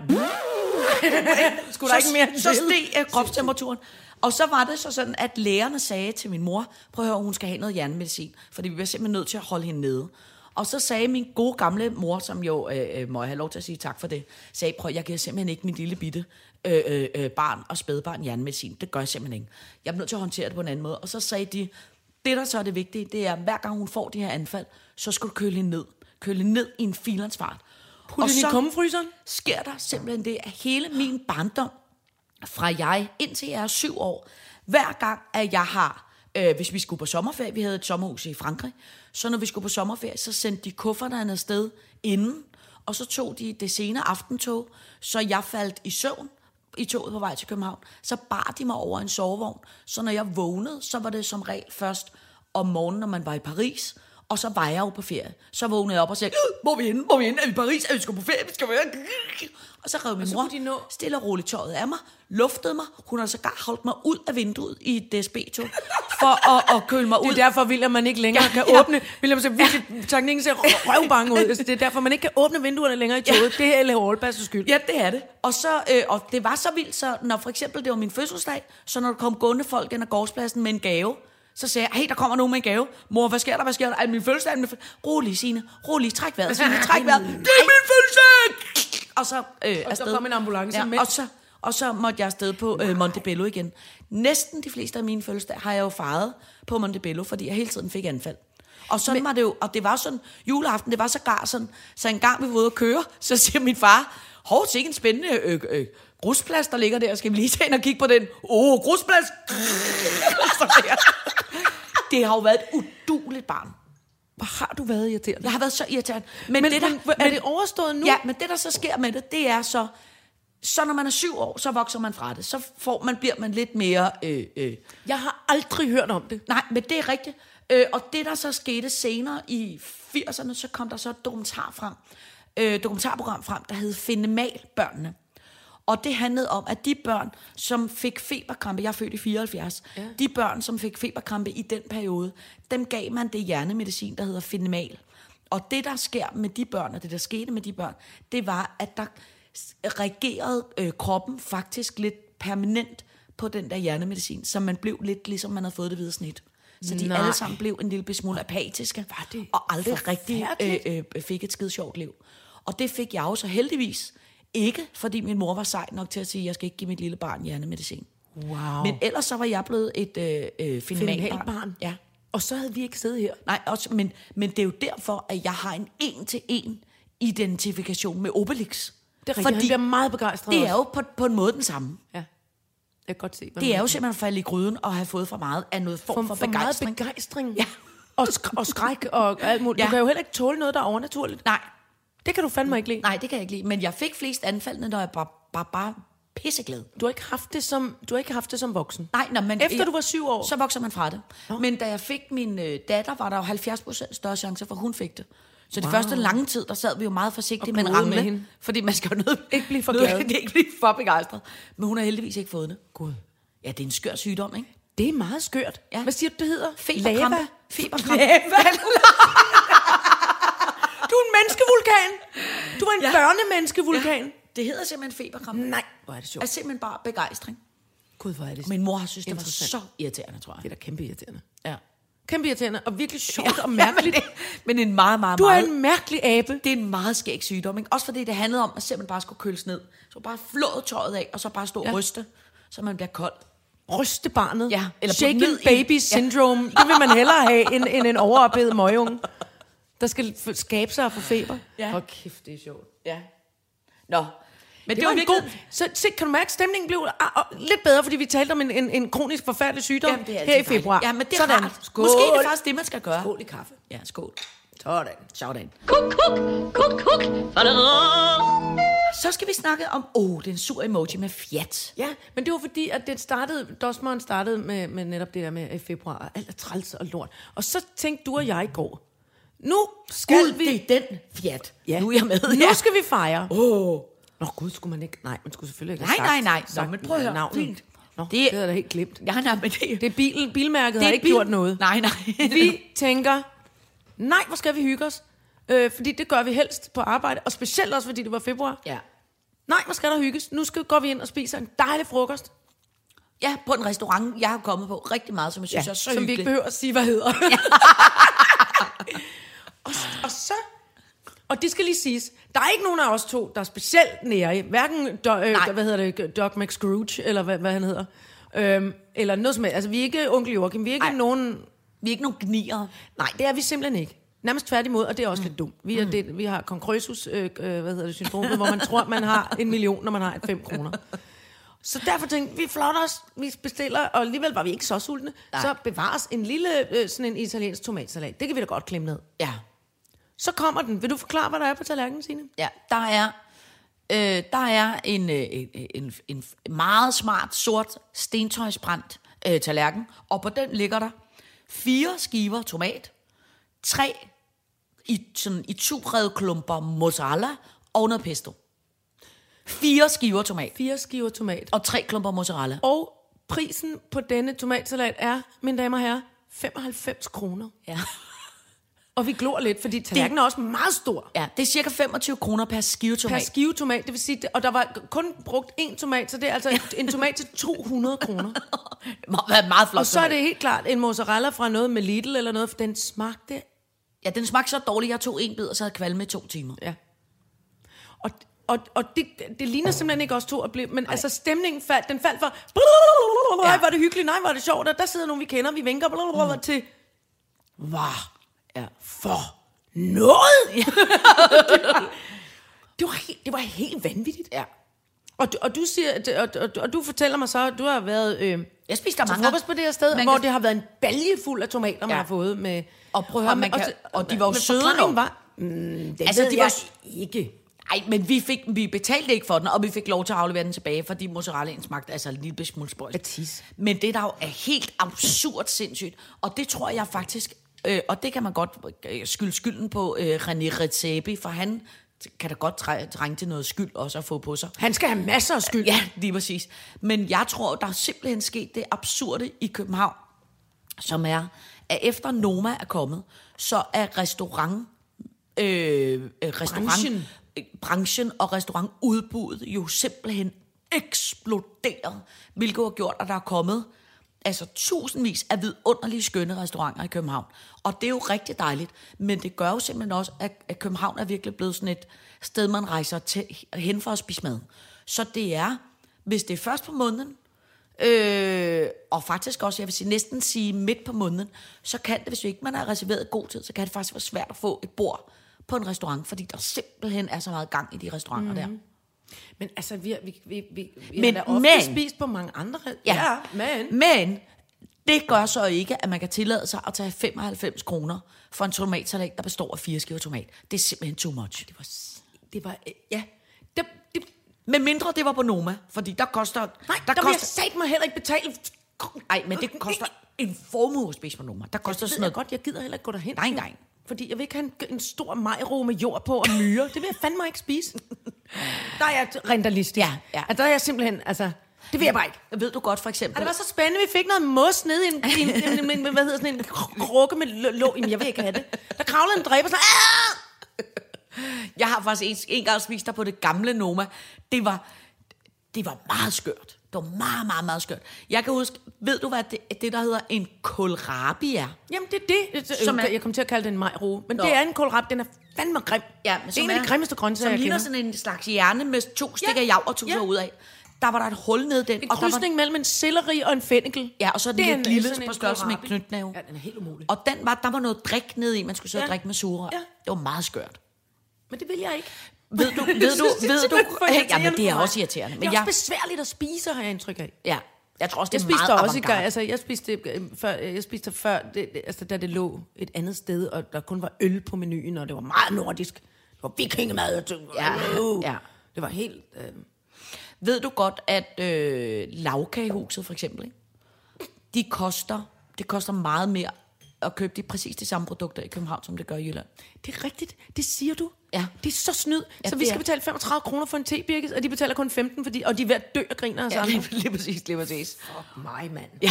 [SPEAKER 3] Skulle der
[SPEAKER 4] så,
[SPEAKER 3] ikke mere
[SPEAKER 4] så
[SPEAKER 3] til?
[SPEAKER 4] steg øh, kropstemperaturen. Og så var det så sådan, at lægerne sagde til min mor, prøv at høre, hun skal have noget hjernemedicin, fordi vi var simpelthen nødt til at holde hende nede. Og så sagde min gode gamle mor, som jo, øh, øh, må jeg have lov til at sige tak for det, sagde, prøv, jeg giver simpelthen ikke min lille bitte øh, øh, øh, barn og spædbarn hjernemedicin. Det gør jeg simpelthen ikke. Jeg er nødt til at håndtere det på en anden måde. Og så sagde de, det der så er det vigtige, det er, at hver gang hun får de her anfald, så skal du køle hende ned. Køle hende ned i en filansfart.
[SPEAKER 3] Put den i kummefryseren?
[SPEAKER 4] sker der simpelthen det, at hele min barndom, fra jeg indtil jeg er syv år, hver gang, at jeg har, øh, hvis vi skulle på sommerferie, vi havde et sommerhus i Frankrig, så når vi skulle på sommerferie, så sendte de kufferterne afsted inden, og så tog de det sene aftentog, så jeg faldt i søvn, i toget på vej til København, så bar de mig over en sovevogn. Så når jeg vågnede, så var det som regel først om morgenen, når man var i Paris, og så var jeg jo på ferie. Så vågnede jeg op og sagde, "Øh, hvor er vi henne, hvor er vi henne, er vi i Paris, er vi skal på ferie, vi skal være. Og så rev min
[SPEAKER 3] så
[SPEAKER 4] mor
[SPEAKER 3] kunne de nå-
[SPEAKER 4] stille og roligt tøjet af mig, luftede mig, hun har sågar holdt mig ud af vinduet i et DSB-tog, for at, at køle mig ud.
[SPEAKER 3] Det er derfor, William, man ikke længere
[SPEAKER 4] Ja,
[SPEAKER 3] ja, kan
[SPEAKER 4] ja.
[SPEAKER 3] ja. åbne... William ser virkelig... Ja. Teknikken ser røv- røvbange ud. Altså, det er derfor, man ikke kan åbne vinduerne længere i toget. Ja. Det er L.A. Aalbergs skyld.
[SPEAKER 4] Ja, det er det. Og, så, øh, og det var så vildt, så når for eksempel det var min fødselsdag, så når der kom gående folk ind ad gårdspladsen med en gave, så sagde jeg, hey, der kommer nogen med en gave. Mor, hvad sker der, hvad sker der? Ej, min fødselsdag, min fødselsdag. Rolig, Signe, rolig, træk vejret,
[SPEAKER 3] Altså,
[SPEAKER 4] Signe, træk vejret. Det er min fødselsdag! Og så øh, og afsted.
[SPEAKER 3] kom en ambulance med.
[SPEAKER 4] og så, og så måtte jeg afsted på øh, Montebello igen. Næsten de fleste af mine fødselsdage har jeg jo fejret på Montebello, fordi jeg hele tiden fik anfald. Og sådan Men, var det jo, og det var sådan, juleaften, det var sågar sådan, så en gang vi var ude at køre, så siger min far, hov, det er ikke en spændende øh, øh, grusplads, der ligger der, skal vi lige tage ind og kigge på den? Åh, oh, grusplads! Så der. det har jo været et uduligt barn.
[SPEAKER 3] Hvor har du været irriterende?
[SPEAKER 4] Jeg har været så irriterende. Men,
[SPEAKER 3] Men
[SPEAKER 4] det, der,
[SPEAKER 3] men, er det overstået nu?
[SPEAKER 4] Ja, men det, der så sker med det, det er så... Så når man er syv år, så vokser man fra det. Så får man, bliver man lidt mere... Øh, øh.
[SPEAKER 3] Jeg har aldrig hørt om det.
[SPEAKER 4] Nej, men det er rigtigt. Øh, og det, der så skete senere i 80'erne, så kom der så et dokumentar frem, øh, dokumentarprogram frem, der hed Finemal børnene. Og det handlede om, at de børn, som fik feberkrampe, jeg er født i 74, ja. de børn, som fik feberkrampe i den periode, dem gav man det hjernemedicin, der hedder Finemal. Og det, der sker med de børn, og det, der skete med de børn, det var, at der s- reagerede øh, kroppen faktisk lidt permanent på den der hjernemedicin, så man blev lidt ligesom man havde fået det hvide snit. Så de
[SPEAKER 3] Nej.
[SPEAKER 4] alle sammen blev en lille smule apatiske,
[SPEAKER 3] Var det
[SPEAKER 4] og aldrig rigtig øh,
[SPEAKER 3] forfærdeligt?
[SPEAKER 4] øh, fik et skide sjovt liv. Og det fik jeg jo så heldigvis ikke, fordi min mor var sej nok til at sige, at jeg skal ikke give mit lille barn hjernemedicin.
[SPEAKER 3] Wow.
[SPEAKER 4] Men ellers så var jeg blevet et øh, øh, fenomenalt barn.
[SPEAKER 3] barn.
[SPEAKER 4] Ja.
[SPEAKER 3] Og så havde vi ikke siddet her.
[SPEAKER 4] Nej, også, men, men det er jo derfor, at jeg har en en-til-en identifikation med Obelix.
[SPEAKER 3] Det er rigtigt. Fordi
[SPEAKER 4] Fordi
[SPEAKER 3] jeg bliver meget begejstret
[SPEAKER 4] det er
[SPEAKER 3] også.
[SPEAKER 4] jo på, på en måde den samme.
[SPEAKER 3] Ja. Jeg kan godt se, hvad
[SPEAKER 4] Det
[SPEAKER 3] man-
[SPEAKER 4] er jo simpelthen at falde i gryden og have fået for meget af noget form for, for, for begejstring.
[SPEAKER 3] meget begejstring.
[SPEAKER 4] Ja.
[SPEAKER 3] Og, sk- og skræk og alt muligt. Ja.
[SPEAKER 4] Ja.
[SPEAKER 3] Du kan jo heller ikke tåle noget, der er overnaturligt.
[SPEAKER 4] Nej,
[SPEAKER 3] Det kan du fandme ikke lide.
[SPEAKER 4] nej, det kan jeg ikke lide. Men jeg fik flest anfaldene, når jeg bare, bare, bare pisseglad.
[SPEAKER 3] Du har ikke haft det som, du har ikke haft det som voksen.
[SPEAKER 4] Nej, når man,
[SPEAKER 3] Efter du var syv år?
[SPEAKER 4] Så vokser man fra det. Men da jeg fik min øh, datter, var der jo 70 procent større chance for, at hun fik det. Så wow. det første lange tid, der sad vi jo meget forsigtigt
[SPEAKER 3] Og
[SPEAKER 4] med en
[SPEAKER 3] klode
[SPEAKER 4] ramme.
[SPEAKER 3] med hende.
[SPEAKER 4] Fordi man skal jo nød,
[SPEAKER 3] Ikke blive for
[SPEAKER 4] nød-
[SPEAKER 3] glad.
[SPEAKER 4] ikke blive for begejstret. Men hun har heldigvis ikke fået det.
[SPEAKER 3] Gud.
[SPEAKER 4] Ja, det er en skør sygdom, ikke?
[SPEAKER 3] Det er meget skørt.
[SPEAKER 4] Ja.
[SPEAKER 3] Hvad siger du, det hedder?
[SPEAKER 4] Feberkrampe.
[SPEAKER 3] Lava.
[SPEAKER 4] Feberkrampe.
[SPEAKER 3] Du er en menneskevulkan. Du er en ja. børnemenneskevulkan. Ja.
[SPEAKER 4] Det hedder simpelthen feberkrampe.
[SPEAKER 3] Nej, Altså, hvor er det sjovt.
[SPEAKER 4] Er simpelthen bare begejstring.
[SPEAKER 3] Gud, hvor er det
[SPEAKER 4] Min mor har synes, det var så
[SPEAKER 3] Interessant.
[SPEAKER 4] irriterende, tror jeg.
[SPEAKER 3] Det er da kæmpe irriterende.
[SPEAKER 4] Ja.
[SPEAKER 3] Kæmpe irriterende og virkelig sjovt
[SPEAKER 4] Ja,
[SPEAKER 3] og mærkeligt.
[SPEAKER 4] men, det, men en meget, meget,
[SPEAKER 3] Du er
[SPEAKER 4] meget...
[SPEAKER 3] en mærkelig abe.
[SPEAKER 4] det er en meget skæg sygdom, ikke? Også fordi det handlede om, at simpelthen bare skulle køles ned. Så bare flået tøjet af, og så bare stå og
[SPEAKER 3] Ja.
[SPEAKER 4] ryste, så man bliver kold.
[SPEAKER 3] Ryste barnet.
[SPEAKER 4] Ja, eller
[SPEAKER 3] Eller
[SPEAKER 4] putte
[SPEAKER 3] Shaken
[SPEAKER 4] ned i-
[SPEAKER 3] baby
[SPEAKER 4] Ja.
[SPEAKER 3] syndrome. Det vil man hellere have, end, end en overophedet møgunge. Der skal f- skabe sig og få feber.
[SPEAKER 4] Ja.
[SPEAKER 3] Hvor kæft, det er sjovt.
[SPEAKER 4] Ja. Nå. Men det,
[SPEAKER 3] Det, det var, en god... Så se, kan du mærke, at stemningen blev ah, og lidt bedre, fordi vi talte om en, en, en kronisk forfærdelig sygdom
[SPEAKER 4] Jamen, det er altid
[SPEAKER 3] her i
[SPEAKER 4] dejligt.
[SPEAKER 3] februar.
[SPEAKER 4] Ja, men det er
[SPEAKER 3] Sådan.
[SPEAKER 4] rart.
[SPEAKER 3] Skål.
[SPEAKER 4] Måske er det faktisk det, man skal gøre.
[SPEAKER 3] Skål i kaffe.
[SPEAKER 4] Ja, skål.
[SPEAKER 3] Sådan.
[SPEAKER 4] Sådan.
[SPEAKER 2] Kuk, kuk, kuk, kuk.
[SPEAKER 4] Så skal vi snakke om, åh, oh, den sur emoji med fjat.
[SPEAKER 3] Ja, men det var fordi, at det startede, Dosmeren startede med, med netop det der med øh, februar, og alt er træls og lort. Og så tænkte du og jeg i går, nu skal
[SPEAKER 4] Gud,
[SPEAKER 3] vi...
[SPEAKER 4] det er den fjat.
[SPEAKER 3] Ja.
[SPEAKER 4] Nu er jeg med.
[SPEAKER 3] Nu
[SPEAKER 4] Ja.
[SPEAKER 3] skal vi fejre.
[SPEAKER 4] Åh.
[SPEAKER 3] Nå gud, skulle man ikke... Nej, man skulle selvfølgelig ikke
[SPEAKER 4] Nej,
[SPEAKER 3] have sagt,
[SPEAKER 4] nej, nej. Nå,
[SPEAKER 3] sagt
[SPEAKER 4] men prøv at høre.
[SPEAKER 3] navnet.
[SPEAKER 4] Fint.
[SPEAKER 3] Nå,
[SPEAKER 4] Det-
[SPEAKER 3] det, det havde jeg da helt glemt.
[SPEAKER 4] Ja, nej, men det,
[SPEAKER 3] Det er bilen, bilmærket det har
[SPEAKER 4] er
[SPEAKER 3] ikke
[SPEAKER 4] bil-
[SPEAKER 3] gjort noget.
[SPEAKER 4] Nej, nej.
[SPEAKER 3] Vi tænker, nej, hvor skal vi hygge os? Øh, fordi det gør vi helst på arbejde, og specielt også, fordi det var februar.
[SPEAKER 4] Ja.
[SPEAKER 3] Nej, hvor skal der hygges? Nu skal, går vi ind og spiser en dejlig frokost,
[SPEAKER 4] ja, på en restaurant, jeg har kommet på rigtig meget, som jeg synes ja, er så
[SPEAKER 3] som vi ikke
[SPEAKER 4] hyggeligt.
[SPEAKER 3] behøver at sige, hvad hedder. og, s- og så... Og det skal lige siges, der er ikke nogen af os to, der er specielt nære. Hverken, do,
[SPEAKER 4] Nej.
[SPEAKER 3] øh, hvad hedder det, Doc McScrooge, eller hvad, hvad han hedder. Øhm, eller noget som helst. Altså, vi er ikke onkel Joachim, vi er ikke
[SPEAKER 4] Nej.
[SPEAKER 3] Ej. nogen
[SPEAKER 4] Vi er ikke nogen gnier.
[SPEAKER 3] Nej, det er vi simpelthen ikke. Nærmest tværtimod, og det er også mm. lidt dumt. Vi, er det, vi har konkrøsus, øh, øh, hvad hedder det, syndromet, hvor man tror, man har en million, når man har et fem kroner. Så derfor tænkte vi, vi flotter os, vi bestiller, og alligevel var vi ikke så sultne.
[SPEAKER 4] Nej.
[SPEAKER 3] Nej. Så bevares en lille, øh, sådan en italiensk tomatsalat. Det kan vi da godt klemme ned.
[SPEAKER 4] Ja.
[SPEAKER 3] Så kommer den. Vil du forklare, hvad der er på tallerkenen, Signe?
[SPEAKER 4] Ja, der er Øh, der er en, øh, en, en, en meget smart sort stentøjsbrændt øh, tallerken, og på den ligger der fire skiver tomat, tre i, sådan, i tubrede klumper mozzarella og noget pesto. Fire skiver tomat
[SPEAKER 3] Fire skiver tomat.
[SPEAKER 4] og tre klumper mozzarella.
[SPEAKER 3] Og prisen på denne tomatsalat er, mine damer og herrer, 95 kroner.
[SPEAKER 4] Ja.
[SPEAKER 3] Og vi glor lidt, fordi tallerkenen er også meget stor.
[SPEAKER 4] ja, det er cirka 25 kroner per skive
[SPEAKER 3] Per
[SPEAKER 4] tomat.
[SPEAKER 3] skive tomat, det vil sige, og der var kun brugt én tomat, så det er altså en tomat til 200 kroner.
[SPEAKER 4] Meget, meget flot
[SPEAKER 3] Og så er
[SPEAKER 4] tomat.
[SPEAKER 3] det helt klart en mozzarella fra noget med Lidl eller noget, for den smagte...
[SPEAKER 4] Ja, den smagte så dårligt, jeg tog en bid, og så havde jeg kvalme i to timer.
[SPEAKER 3] Ja. Og, og, og det, det ligner simpelthen ikke os to at blive... Men Ej. altså stemningen faldt, den faldt fra... Nej, var det hyggeligt, nej, var det sjovt, og der sidder nogen, vi kender, vi vinker mm. til... Var
[SPEAKER 4] Ja.
[SPEAKER 3] for noget! det, var, det, var helt, det var helt vanvittigt.
[SPEAKER 4] ja.
[SPEAKER 3] Og du, og du siger, at- og, og, og du fortæller mig så, at du har været øh,
[SPEAKER 4] Jeg spiste der
[SPEAKER 3] til
[SPEAKER 4] mange.
[SPEAKER 3] frokost på det her sted,
[SPEAKER 4] Man
[SPEAKER 3] hvor
[SPEAKER 4] kan-
[SPEAKER 3] det har været en balje fuld af tomater, man
[SPEAKER 4] Ja.
[SPEAKER 3] har fået med...
[SPEAKER 4] Og prøv at høre, man
[SPEAKER 3] med-
[SPEAKER 4] kan-
[SPEAKER 3] så-
[SPEAKER 4] og de var jo
[SPEAKER 3] men
[SPEAKER 4] søde
[SPEAKER 3] forklaringen
[SPEAKER 4] nok.
[SPEAKER 3] var, mm, det
[SPEAKER 4] Altså,
[SPEAKER 3] altså,
[SPEAKER 4] de
[SPEAKER 3] de
[SPEAKER 4] var
[SPEAKER 3] jeg
[SPEAKER 4] s-
[SPEAKER 3] ikke.
[SPEAKER 4] Nej, men vi, fik, vi betalte ikke for den, og vi fik lov til at aflevere den tilbage, fordi mozzarellaen smagte altså en lille smule
[SPEAKER 3] Af
[SPEAKER 4] spøjs.
[SPEAKER 3] tis.
[SPEAKER 4] Men det der jo er helt absurd sindssygt, og det tror jeg faktisk, øh, og det kan man godt øh, skylde skylden på øh, René Redzepi, for han kan da godt træ- trænge til noget skyld også at få på sig.
[SPEAKER 3] Han skal have masser af skyld.
[SPEAKER 4] Ja, lige præcis. Men jeg tror, der er simpelthen sket det absurde i København, som er, at efter Noma er kommet, så er restaurant, øh, øh, restaurant
[SPEAKER 3] Branchen.
[SPEAKER 4] øh, branchen og restaurantudbuddet jo simpelthen eksploderet, hvilket har gjort, at der er kommet altså tusindvis af vidunderlige skønne restauranter i København. Og det er jo rigtig dejligt, men det gør jo simpelthen også, at, at København er virkelig blevet sådan et sted, man rejser til, hen for at spise mad. Så det er, hvis det er først på måneden, øh, og faktisk også, jeg vil sige, næsten sige midt på måneden, så kan det, hvis ikke man har reserveret god tid, så kan det faktisk være svært at få et bord på en restaurant, fordi der simpelthen er så meget gang i de restauranter mm-hmm. der.
[SPEAKER 3] Men altså, vi, har- vi, vi, vi, vi
[SPEAKER 4] Men-
[SPEAKER 3] men, har da ofte
[SPEAKER 4] men-
[SPEAKER 3] men, spist på mange andre. men...
[SPEAKER 4] Men det gør så ikke, at man kan tillade sig at tage 95 kroner for en tomatsalat, der består af fire skiver tomat. Det er simpelthen too much. Det var
[SPEAKER 3] Det var, øh, ja. Det, det,
[SPEAKER 4] Med mindre det var på Noma, fordi der koster...
[SPEAKER 3] nej, der, der vil jeg sat mig heller ikke betale.
[SPEAKER 4] Ej, men det koster en formue at spise på Noma. Der koster
[SPEAKER 3] Det
[SPEAKER 4] sådan
[SPEAKER 3] ved jeg
[SPEAKER 4] noget
[SPEAKER 3] godt, jeg gider heller ikke gå derhen.
[SPEAKER 4] Nej, nej.
[SPEAKER 3] Fordi jeg vil ikke have en, en stor majro med jord på og myre. Det vil jeg fandme ikke spise. Der er jeg rentalistisk.
[SPEAKER 4] Ja, ja.
[SPEAKER 3] Altså, der er jeg simpelthen, altså... Det vil jeg bare ikke.
[SPEAKER 4] Ved du godt for eksempel...
[SPEAKER 3] Og det var så spændende, vi fik noget mos nede i en, i en, i en, i en hvad hedder sådan en kr- krukke med lå- låg. Jamen, jeg vil ikke have det. Der kravlede en dræber, så... "Ah!"
[SPEAKER 4] Jeg har faktisk en, en gang spist der på det gamle Noma. Det var, det var meget skørt. Det var meget, meget, meget skørt. Jeg kan huske, ved du hvad det, det der hedder en kohlrabi er?
[SPEAKER 3] Jamen, det er det. Som
[SPEAKER 4] Som
[SPEAKER 3] er,
[SPEAKER 4] er-
[SPEAKER 3] jeg kom til at kalde den en majro. Men
[SPEAKER 4] Nå.
[SPEAKER 3] det er en kålrap, den er fandme grim. det er en af de grimmeste grøntsager,
[SPEAKER 4] Som
[SPEAKER 3] jeg
[SPEAKER 4] ligner
[SPEAKER 3] kender.
[SPEAKER 4] sådan en slags hjerne med to stikker
[SPEAKER 3] Ja.
[SPEAKER 4] jav og tusser
[SPEAKER 3] Ja.
[SPEAKER 4] ud af. Der var der et hul ned i den.
[SPEAKER 3] En
[SPEAKER 4] og der var,
[SPEAKER 3] krydsning mellem en selleri og en fennikel.
[SPEAKER 4] ja, og så
[SPEAKER 3] Det er
[SPEAKER 4] den
[SPEAKER 3] en-
[SPEAKER 4] lille,
[SPEAKER 3] sådan
[SPEAKER 4] lille
[SPEAKER 3] en
[SPEAKER 4] på størrelse med en
[SPEAKER 3] kohlrabi.
[SPEAKER 4] knytnæve.
[SPEAKER 3] Ja, den er helt umulig.
[SPEAKER 4] Og den var, der var noget drik ned i, man skulle sidde og
[SPEAKER 3] Ja.
[SPEAKER 4] drikke med sure.
[SPEAKER 3] Ja.
[SPEAKER 4] Det var meget skørt.
[SPEAKER 3] Men det vil jeg ikke.
[SPEAKER 4] Ved du,
[SPEAKER 3] Jeg
[SPEAKER 4] ved
[SPEAKER 3] synes,
[SPEAKER 4] du,
[SPEAKER 3] det er
[SPEAKER 4] ved du,
[SPEAKER 3] simpelthen for irriterende
[SPEAKER 4] jamen det er
[SPEAKER 3] for mig.
[SPEAKER 4] også irriterende. Men
[SPEAKER 3] det er
[SPEAKER 4] jeg,
[SPEAKER 3] også besværligt at spise, har jeg indtryk af.
[SPEAKER 4] ja, jeg tror også, det
[SPEAKER 3] Jeg
[SPEAKER 4] er
[SPEAKER 3] spiste der
[SPEAKER 4] meget
[SPEAKER 3] også i går,
[SPEAKER 4] avantgarde.
[SPEAKER 3] altså jeg spiste det, øh, før, øh, jeg spiste det før, det, det, altså da det lå et andet sted, og der kun var øl på menuen, og det var meget nordisk. Det var vikingemad, og det,
[SPEAKER 4] Ja,
[SPEAKER 3] øh,
[SPEAKER 4] ja.
[SPEAKER 3] det var helt... Øh,
[SPEAKER 4] Ved du godt, at øh, lavkagehuset for eksempel, ikke? de koster, det koster meget mere at købe de præcis de samme produkter i København, som det gør i Jylland.
[SPEAKER 3] det er rigtigt, det siger du.
[SPEAKER 4] Ja.
[SPEAKER 3] Det er så snyd.
[SPEAKER 4] Ja,
[SPEAKER 3] så
[SPEAKER 4] det
[SPEAKER 3] vi skal
[SPEAKER 4] er-
[SPEAKER 3] betale 35 kroner for en tebirkes, og de betaler kun 15, fordi, og de er ved at dø og griner os ja, andre.
[SPEAKER 4] lige præcis, lige præcis.
[SPEAKER 3] Fuck mig, mand.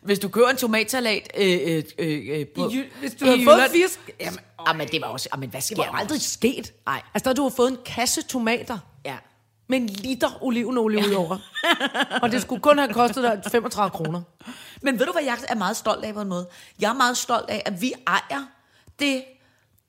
[SPEAKER 4] Hvis du køber en tomatsalat øh, øh, øh, øh, på,
[SPEAKER 3] Jyl- hvis du
[SPEAKER 4] i
[SPEAKER 3] havde fået
[SPEAKER 4] Jylland-
[SPEAKER 3] fisk-
[SPEAKER 4] Jamen, jamen, det var også... Jamen, hvad sker
[SPEAKER 3] Det var jo
[SPEAKER 4] der?
[SPEAKER 3] aldrig sket.
[SPEAKER 4] Nej.
[SPEAKER 3] Altså, der har du har fået en kasse tomater.
[SPEAKER 4] Ja.
[SPEAKER 3] Med en liter olivenolie ud over. og det skulle kun have kostet dig 35 kroner.
[SPEAKER 4] Men ved du, hvad jeg er meget stolt af på en måde? Jeg er meget stolt af, at vi ejer det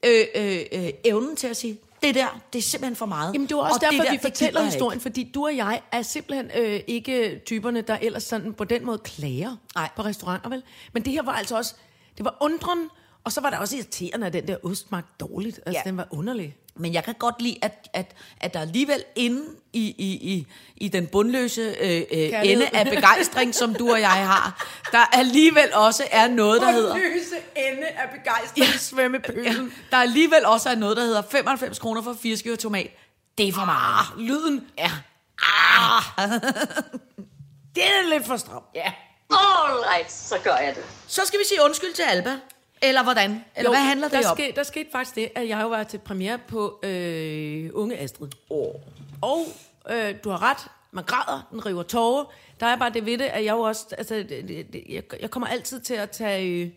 [SPEAKER 4] øh, øh, øh, evnen til at sige, det der, det er simpelthen for meget.
[SPEAKER 3] Jamen, det var også
[SPEAKER 4] Og
[SPEAKER 3] derfor, vi
[SPEAKER 4] der, det gider
[SPEAKER 3] fortæller
[SPEAKER 4] jeg ikke."
[SPEAKER 3] historien, fordi du og jeg er simpelthen øh, ikke typerne, der ellers sådan på den måde klager
[SPEAKER 4] Nej.
[SPEAKER 3] på restauranter, vel? Men det her var altså også, det var undren, og så var det også irriterende, at den der ost smagte dårligt. Altså,
[SPEAKER 4] Ja.
[SPEAKER 3] ja. den var underlig.
[SPEAKER 4] Men jeg kan godt lide, at, at, at der alligevel inde i, i, i, i den bundløse øh, øh, ende af begejstring, som du og jeg har, der alligevel også er noget, der hedder...
[SPEAKER 3] lyse ende af begejstring ja. svømmepølen.
[SPEAKER 4] Der alligevel også er noget, der hedder 95 kroner for fire skiver tomat. Det er for meget.
[SPEAKER 3] Ah, Lyden, Ah.
[SPEAKER 4] Ja.
[SPEAKER 3] det er lidt for stram.
[SPEAKER 4] ja.
[SPEAKER 2] Alright, så gør jeg det.
[SPEAKER 4] Så skal vi sige undskyld til Alba. Eller hvordan? Eller
[SPEAKER 3] Jo,
[SPEAKER 4] jo, hvad handler det
[SPEAKER 3] der
[SPEAKER 4] om?
[SPEAKER 3] Skete, der skete faktisk det, at jeg jo var til premiere på øh, Unge Astrid. Oh. Og øh, du har ret, man græder, den river tårer. Der er bare det ved det, at jeg jo også... Altså, det, det, det- jeg, jeg kommer altid til at tage... Øh,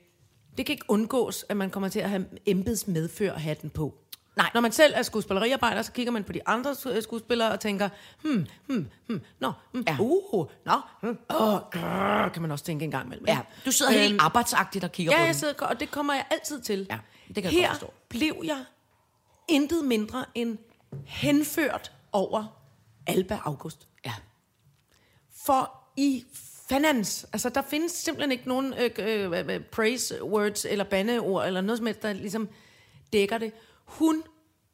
[SPEAKER 3] det kan ikke undgås, at man kommer til at have embedsmedførerhatten på.
[SPEAKER 4] Nej.
[SPEAKER 3] Når man selv er skuespilleriarbejder, så kigger man på de andre sku- øh, skuespillere og tænker, hmm, hmm, hmm, nå, hmm,
[SPEAKER 4] Ja.
[SPEAKER 3] ja. uh, nå, hmm, åh, grrr, kan man også tænke en gang imellem.
[SPEAKER 4] Ja, du sidder øhm, helt arbejdsagtigt og kigger
[SPEAKER 3] Ja,
[SPEAKER 4] på
[SPEAKER 3] jeg
[SPEAKER 4] den.
[SPEAKER 3] sidder, og det kommer jeg altid til.
[SPEAKER 4] Ja, det kan jeg
[SPEAKER 3] Her
[SPEAKER 4] godt forstå.
[SPEAKER 3] blev jeg intet mindre end henført over Alba August.
[SPEAKER 4] Ja.
[SPEAKER 3] For i fanans, altså der findes simpelthen ikke nogen øh, øh, øh, praise words eller bandeord eller noget som helst, der ligesom dækker det. Hun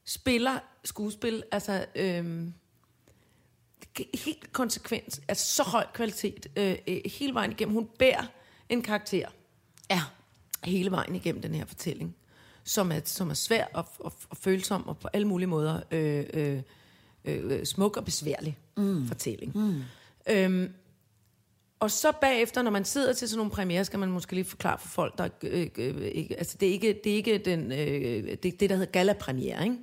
[SPEAKER 3] spiller skuespil, altså øhm, helt konsekvens af så høj kvalitet øh, øh, hele vejen igennem. Hun bærer en karakter
[SPEAKER 4] Ja.
[SPEAKER 3] hele vejen igennem den her fortælling, som er, som er svær og, og, og følsom og på alle mulige måder øh, øh, øh, smuk og besværlig mm. fortælling. Mm. Øhm, og så bagefter, når man sidder til sådan nogle premiere, skal man måske lige forklare for folk, der øh, øh, ikke, altså det er ikke, det er ikke den, øh, det, er det, der hedder galapremiere, ikke?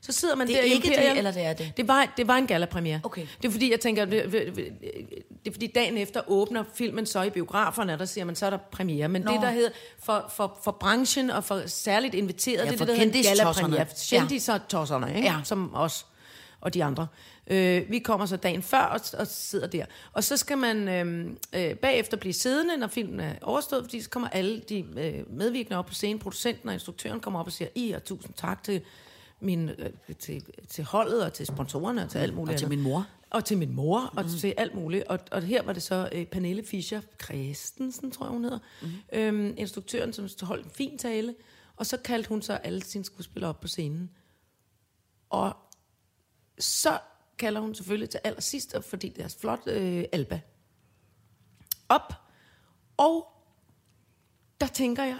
[SPEAKER 3] Så sidder man
[SPEAKER 4] Det er
[SPEAKER 3] der i
[SPEAKER 4] ikke det,
[SPEAKER 3] Imperial.
[SPEAKER 4] eller det er det?
[SPEAKER 3] Det var, det var en gallapremiere.
[SPEAKER 4] Okay.
[SPEAKER 3] Det er fordi, jeg tænker, det, det, det det er fordi dagen efter åbner filmen så i biograferne, og der siger man, så er der premiere. Men Nå. det, der hedder for, for, for branchen og for særligt inviteret,
[SPEAKER 4] Ja,
[SPEAKER 3] det
[SPEAKER 4] for
[SPEAKER 3] er det, der hedder en
[SPEAKER 4] kendistosserne.
[SPEAKER 3] gallapremiere.
[SPEAKER 4] Ja.
[SPEAKER 3] Kendisser tosserne, ikke?
[SPEAKER 4] Ja.
[SPEAKER 3] Som os og de andre. Øh, vi kommer så dagen før og, og sidder der. Og så skal man øh, øh, bagefter blive siddende, når filmen er overstået, fordi så kommer alle de øh, medvirkende op på scenen, producenten og instruktøren kommer op og siger, I og tusind tak til min, øh, til, til holdet og til sponsorerne og til alt muligt
[SPEAKER 4] Og til
[SPEAKER 3] andet."
[SPEAKER 4] min mor.
[SPEAKER 3] Og til min mor, og mm. til alt muligt. Og, og her var det så øh, Pernille Fischer Christensen, tror jeg hun hedder, mm.
[SPEAKER 4] Mm-hmm.
[SPEAKER 3] øhm, instruktøren, som holdt en fin tale. Og så kaldte hun så alle sine skuespillere op på scenen. Og så kalder hun selvfølgelig til allersidst, og fordi det er så flot, øh, Alba. Op. Og der tænker jeg,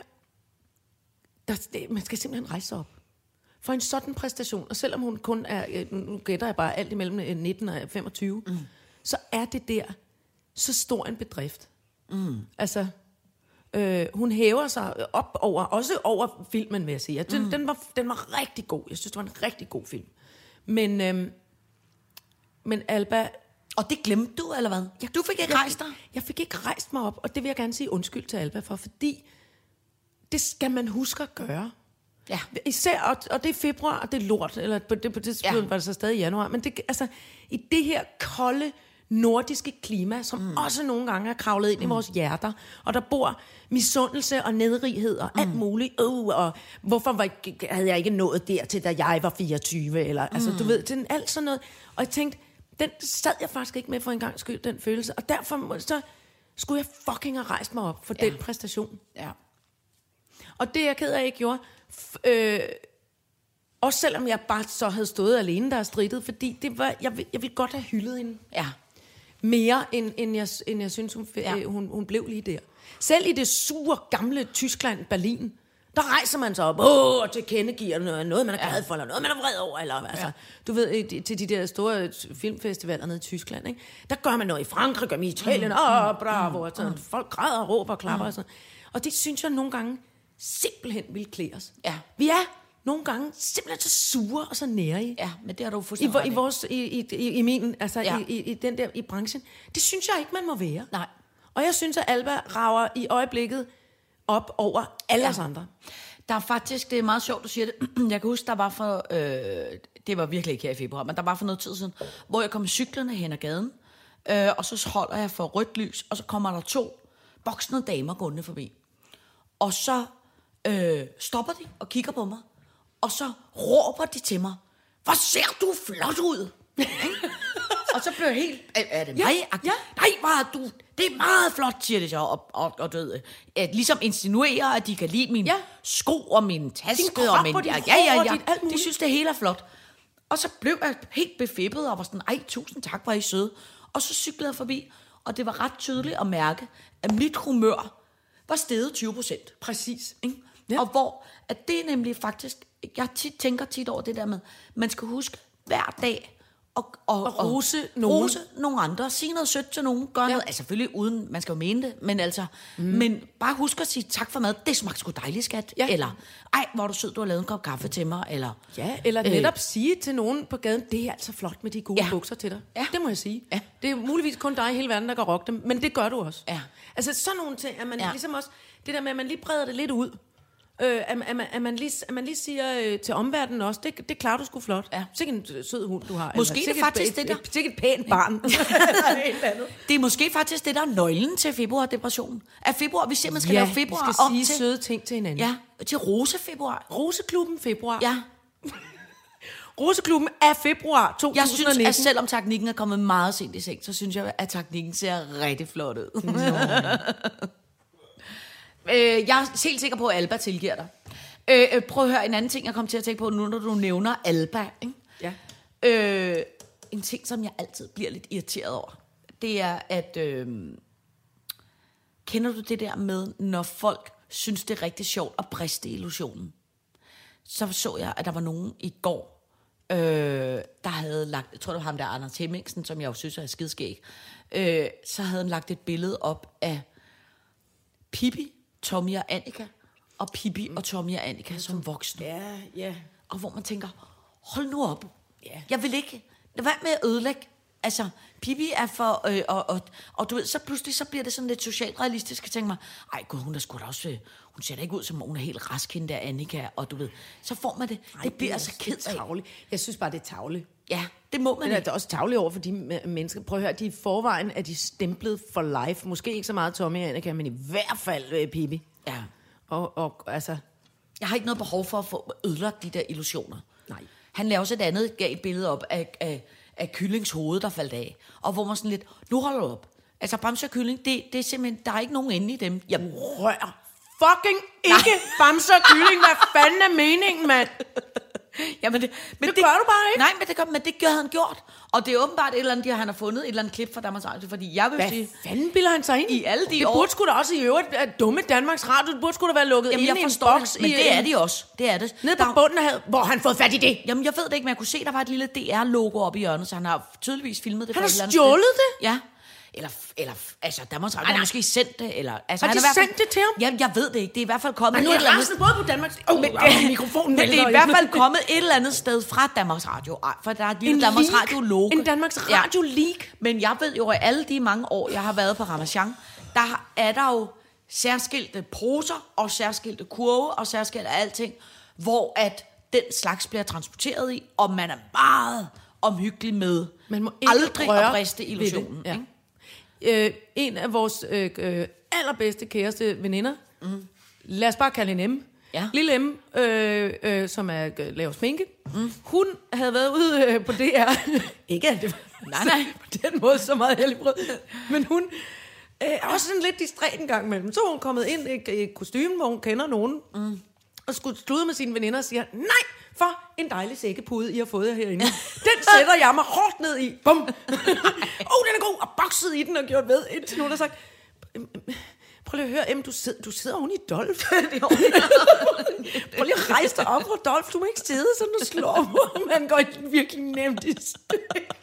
[SPEAKER 3] der, det, man skal simpelthen rejse sig op. For en sådan præstation, og selvom hun kun er, øh, nu- nu gætter jeg bare alt imellem øh, 19 og 25, mm. så er det der så stor en bedrift. Mm. Altså, øh, hun hæver sig op over, også over filmen, vil jeg sige. Jeg synes, mm. den, var, den var rigtig god. Jeg synes, det var en rigtig god film. Men, øh, men Alba,
[SPEAKER 4] Og det glemte du, eller hvad? Ja. Du fik ikke rejst dig?
[SPEAKER 3] jeg fik ikke rejst mig op, og det vil jeg gerne sige undskyld til Alba for, fordi det skal man huske at gøre.
[SPEAKER 4] Ja.
[SPEAKER 3] Især, og, og det er februar, og det er lort, eller på det, på det tidspunkt
[SPEAKER 4] Ja.
[SPEAKER 3] ja. var det så stadig januar, men det, altså, i det her kolde, nordiske klima, som mm. også nogle gange er kravlet ind mm. i vores hjerter, og der bor misundelse og nedrighed og alt muligt, øh, og hvorfor var, ikke- havde jeg ikke nået dertil, da jeg var 24, eller, altså, du ved, den, alt sådan noget, og jeg tænkte, den sad jeg faktisk ikke med for en gang skyld, den følelse, og derfor må- så skulle jeg fucking have rejst mig op for ja. den præstation.
[SPEAKER 4] Ja.
[SPEAKER 3] Og det er jeg ked af, jeg ikke gjorde. F- øh, også selvom jeg bare så havde stået alene, der er strittet, fordi det var, jeg, vil- jeg ville godt have hyldet hende
[SPEAKER 4] Ja.
[SPEAKER 3] mere, end, end, jeg, end jeg synes, hun,
[SPEAKER 4] Ja.
[SPEAKER 3] ja. øh, hun, hun blev lige der. Selv i det sure, gamle Tyskland, Berlin, der rejser man sig op Åh, og tilkendegiver noget, noget, man er glad for, eller noget, man er vred over. Eller, altså, ja. Du ved, i de- til de der store øh, filmfestivaler nede i Tyskland, ikke? der gør man noget i Frankrig, gør man i Italien, åh, bravo, og sådan. Folk græder og råber og klapper og sådan. Og det synes jeg nogle gange simpelthen vil klæde os.
[SPEAKER 4] Ja.
[SPEAKER 3] Vi er nogle gange simpelthen så sure og så nære i.
[SPEAKER 4] Ja, men det har du
[SPEAKER 3] I,
[SPEAKER 4] fuldstændig
[SPEAKER 3] vo-
[SPEAKER 4] ret
[SPEAKER 3] i, vores, i, i, i, i min, altså
[SPEAKER 4] Ja.
[SPEAKER 3] ja. i, i, i den der, i branchen. Det synes jeg ikke, man må være.
[SPEAKER 4] Nej.
[SPEAKER 3] Og jeg synes, at Alba rager i øjeblikket op over alle ja. os andre.
[SPEAKER 4] Der er faktisk, det er meget sjovt, du siger det. Jeg kan huske, der var for, øh, det var virkelig ikke her i februar, men der var for noget tid siden, hvor jeg kom cyklerne hen ad gaden, øh, og så holder jeg for rødt lys, og så kommer der to voksne damer gående forbi. Og så øh, stopper de og kigger på mig, og så råber de til mig, hvor ser du flot ud! og så blev jeg helt, er, er det mig? Ja, ja. Nej, bare du, det er meget flot, siger det så, og, og, og du ved, at ligesom insinuerer, at de kan lide mine ja.
[SPEAKER 3] Ja.
[SPEAKER 4] sko og min taske
[SPEAKER 3] krop
[SPEAKER 4] og min,
[SPEAKER 3] og dit
[SPEAKER 4] ja,
[SPEAKER 3] hår
[SPEAKER 4] ja,
[SPEAKER 3] og
[SPEAKER 4] ja,
[SPEAKER 3] dit alt
[SPEAKER 4] ja. de
[SPEAKER 3] muligt.
[SPEAKER 4] synes, det hele er flot. Og så blev jeg helt befippet og var sådan, ej, tusind tak, var I søde. Og så cyklede jeg forbi, og det var ret tydeligt at mærke, at mit humør var steget 20 procent.
[SPEAKER 3] Præcis.
[SPEAKER 4] Ikke?
[SPEAKER 3] Ja.
[SPEAKER 4] Og hvor, at det er nemlig faktisk, jeg tit, tænker tit over det der med, man skal huske, hver dag og, og,
[SPEAKER 3] Og rose nogen.
[SPEAKER 4] rose nogle andre. Sige noget sødt til nogen. Gør ja. noget. Altså selvfølgelig uden, man skal jo mene det. Men altså, mm. men bare husk at sige tak for mad. Det smagte sgu dejligt, skat.
[SPEAKER 3] Ja.
[SPEAKER 4] Eller, ej, hvor er du sød, du har lavet en kop kaffe til mig. Eller,
[SPEAKER 3] Ja, eller
[SPEAKER 4] Øh.
[SPEAKER 3] netop øh. sige til nogen på gaden, det er altså flot med de gode
[SPEAKER 4] Ja.
[SPEAKER 3] ja. bukser til dig.
[SPEAKER 4] Ja.
[SPEAKER 3] Det må jeg sige.
[SPEAKER 4] Ja.
[SPEAKER 3] Det er muligvis kun dig i hele verden, der kan rocke dem, men det gør du også.
[SPEAKER 4] Ja.
[SPEAKER 3] Altså sådan nogle ting, at man
[SPEAKER 4] Ja.
[SPEAKER 3] ja. ligesom også, det der med, at man lige breder det lidt ud, øh, at, at, man, at, man lige, at man lige siger øh, til omverdenen også, det, det klarer du sgu flot.
[SPEAKER 4] Ja.
[SPEAKER 3] Sikke en øh, sød hund, du har.
[SPEAKER 4] Måske
[SPEAKER 3] eller
[SPEAKER 4] det
[SPEAKER 3] sikke et-
[SPEAKER 4] faktisk
[SPEAKER 3] et,
[SPEAKER 4] det, der-
[SPEAKER 3] Et, sikke et pænt barn. Eller et eller andet.
[SPEAKER 4] det er måske faktisk det, der er nøglen til februardepressionen. At februar, vi simpelthen skal
[SPEAKER 3] ja,
[SPEAKER 4] lave februar
[SPEAKER 3] vi skal
[SPEAKER 4] om
[SPEAKER 3] sige
[SPEAKER 4] til...
[SPEAKER 3] søde ting til hinanden.
[SPEAKER 4] Ja, til rosefebruar.
[SPEAKER 3] Roseklubben februar.
[SPEAKER 4] Ja,
[SPEAKER 3] Roseklubben af februar 2019.
[SPEAKER 4] jeg synes, at selvom teknikken er kommet meget sent i seng, så synes jeg, at teknikken ser rigtig flot ud. øh, jeg er helt sikker på, at Alba tilgiver dig. Øh, øh, prøv at høre en anden ting, jeg kom til at tænke på nu, når du nævner Alba. Ikke?
[SPEAKER 3] Ja.
[SPEAKER 4] Øh, en ting, som jeg altid bliver lidt irriteret over, det er, at... Øh, kender du det der med, når folk synes, det er rigtig sjovt at briste i illusionen? Så så jeg, at der var nogen i går, øh, der havde lagt... Jeg tror, det var ham der, Anders Hemmingsen, som jeg jo synes er skidskæg. Øh, så havde han lagt et billede op af Pippi, Tommy og Annika. Og Pippi og Tommy og Annika som voksne
[SPEAKER 3] Ja, ja.
[SPEAKER 4] og hvor man tænker, hold nu op.
[SPEAKER 3] Ja.
[SPEAKER 4] Jeg vil ikke. Lad være med at ødelægge. Altså, Pippi er for... Øh, og, og, og, du ved, så pludselig så bliver det sådan lidt socialt realistisk. Jeg tænker mig, ej gud, hun er sgu da også... Øh, hun ser da ikke ud, som om hun er helt rask, hende der Annika. Og du ved, så får man det. Ej, det bliver altså ked af.
[SPEAKER 3] tavligt. Jeg synes bare, det er tavligt.
[SPEAKER 4] Ja, det må man
[SPEAKER 3] Men er det
[SPEAKER 4] ikke.
[SPEAKER 3] er også tavligt over for de me- mennesker. Prøv at høre, de er i forvejen er de stemplet for life. Måske ikke så meget Tommy og Annika, men i hvert fald øh, Pippi.
[SPEAKER 4] Ja.
[SPEAKER 3] Og, og altså,
[SPEAKER 4] Jeg har ikke noget behov for at få ødelagt de der illusioner.
[SPEAKER 3] Nej.
[SPEAKER 4] Han laver også et andet galt billede op af, af, af kyllings hoved, der faldt af. Og hvor man sådan lidt, nu holder du op. Altså, Bamse og kylling, det, det er simpelthen, der er ikke nogen inde i dem. Jeg
[SPEAKER 3] rør fucking ikke bamser og kylling. Hvad fanden er meningen, mand?
[SPEAKER 4] Ja, men det, men
[SPEAKER 3] Det gør du bare ikke.
[SPEAKER 4] Nej, men det, gør, men det gør han gjort. Og det er åbenbart et eller andet, de har- han har fundet et eller andet klip fra Danmarks Radio, fordi jeg vil
[SPEAKER 3] Hvad
[SPEAKER 4] sige...
[SPEAKER 3] fanden bilder han sig ind?
[SPEAKER 4] I alle de
[SPEAKER 3] det
[SPEAKER 4] år-
[SPEAKER 3] burde sgu da også i øvrigt at dumme Danmarks Radio. Det burde sgu da være lukket
[SPEAKER 4] Jamen,
[SPEAKER 3] inde
[SPEAKER 4] jeg
[SPEAKER 3] i en
[SPEAKER 4] forstår
[SPEAKER 3] boks.
[SPEAKER 4] det, men
[SPEAKER 3] i
[SPEAKER 4] det
[SPEAKER 3] en-
[SPEAKER 4] er de også. Det er det.
[SPEAKER 3] Nede
[SPEAKER 4] Der-
[SPEAKER 3] på bunden af havet, hvor har han fået fat i det.
[SPEAKER 4] Jamen, jeg ved det ikke, men jeg kunne se, der var et lille DR-logo oppe i hjørnet, så han har tydeligvis filmet det.
[SPEAKER 3] Han
[SPEAKER 4] fra
[SPEAKER 3] har
[SPEAKER 4] et eller andet
[SPEAKER 3] stjålet
[SPEAKER 4] sted. Ja. Eller, eller altså, Danmarks Radio har måske sendt det. Eller, altså,
[SPEAKER 3] Har
[SPEAKER 4] han
[SPEAKER 3] de
[SPEAKER 4] er i hvert fald-
[SPEAKER 3] sendt det til ham?
[SPEAKER 4] Jamen, jeg ved det ikke. Det er i hvert fald kommet
[SPEAKER 3] Men nu
[SPEAKER 4] et
[SPEAKER 3] er
[SPEAKER 4] eller andet
[SPEAKER 3] Larsen både på Danmarks... Oh, men, mikrofonen
[SPEAKER 4] Men det er
[SPEAKER 3] vælter
[SPEAKER 4] i
[SPEAKER 3] jo.
[SPEAKER 4] hvert fald kommet et eller andet sted fra Danmarks Radio. Ej, For der er et lille
[SPEAKER 3] En
[SPEAKER 4] Danmarks
[SPEAKER 3] leak.
[SPEAKER 4] Radio logo.
[SPEAKER 3] En Danmarks Radio leak.
[SPEAKER 4] Men jeg ved jo, at alle de mange år, jeg har været på Ramachan, der har- er der jo særskilte poser og særskilte kurve og særskilte alting, hvor at den slags bliver transporteret i, og man er meget omhyggelig med
[SPEAKER 3] Man må ikke
[SPEAKER 4] aldrig
[SPEAKER 3] røre
[SPEAKER 4] at briste
[SPEAKER 3] ved
[SPEAKER 4] illusionen.
[SPEAKER 3] det, ja.
[SPEAKER 4] ikke?
[SPEAKER 3] Øh, en af vores øh, øh, allerbedste, kæreste veninder, mm. lad os bare kalde hende M.
[SPEAKER 4] Ja.
[SPEAKER 3] Lille M, øh, øh, som er, øh, laver sminke, mm. hun havde været ude øh, på DR. Ikke at det var
[SPEAKER 4] Nej, nej.
[SPEAKER 3] på den måde så meget heldigbrød. Men hun øh, er også sådan lidt distræt en gang imellem. Så er hun kommet ind i, i kostymen, hvor hun kender nogen, mm. og skulle slude med sine veninder og siger, nej, for en dejlig sækkepude, I har fået herinde. Den sætter jeg mig hårdt ned i. Bum! Åh, oh, den er god! Og bokset i den og gjort ved, indtil nogen har sagt, "Øhm, øhm, prøv lige at høre, Em, du sidder, du sidder oven i Dolf. prøv lige at rejse dig op, Rodolf, du må ikke sidde sådan og slå mig. Man går virkelig nemt i stykker.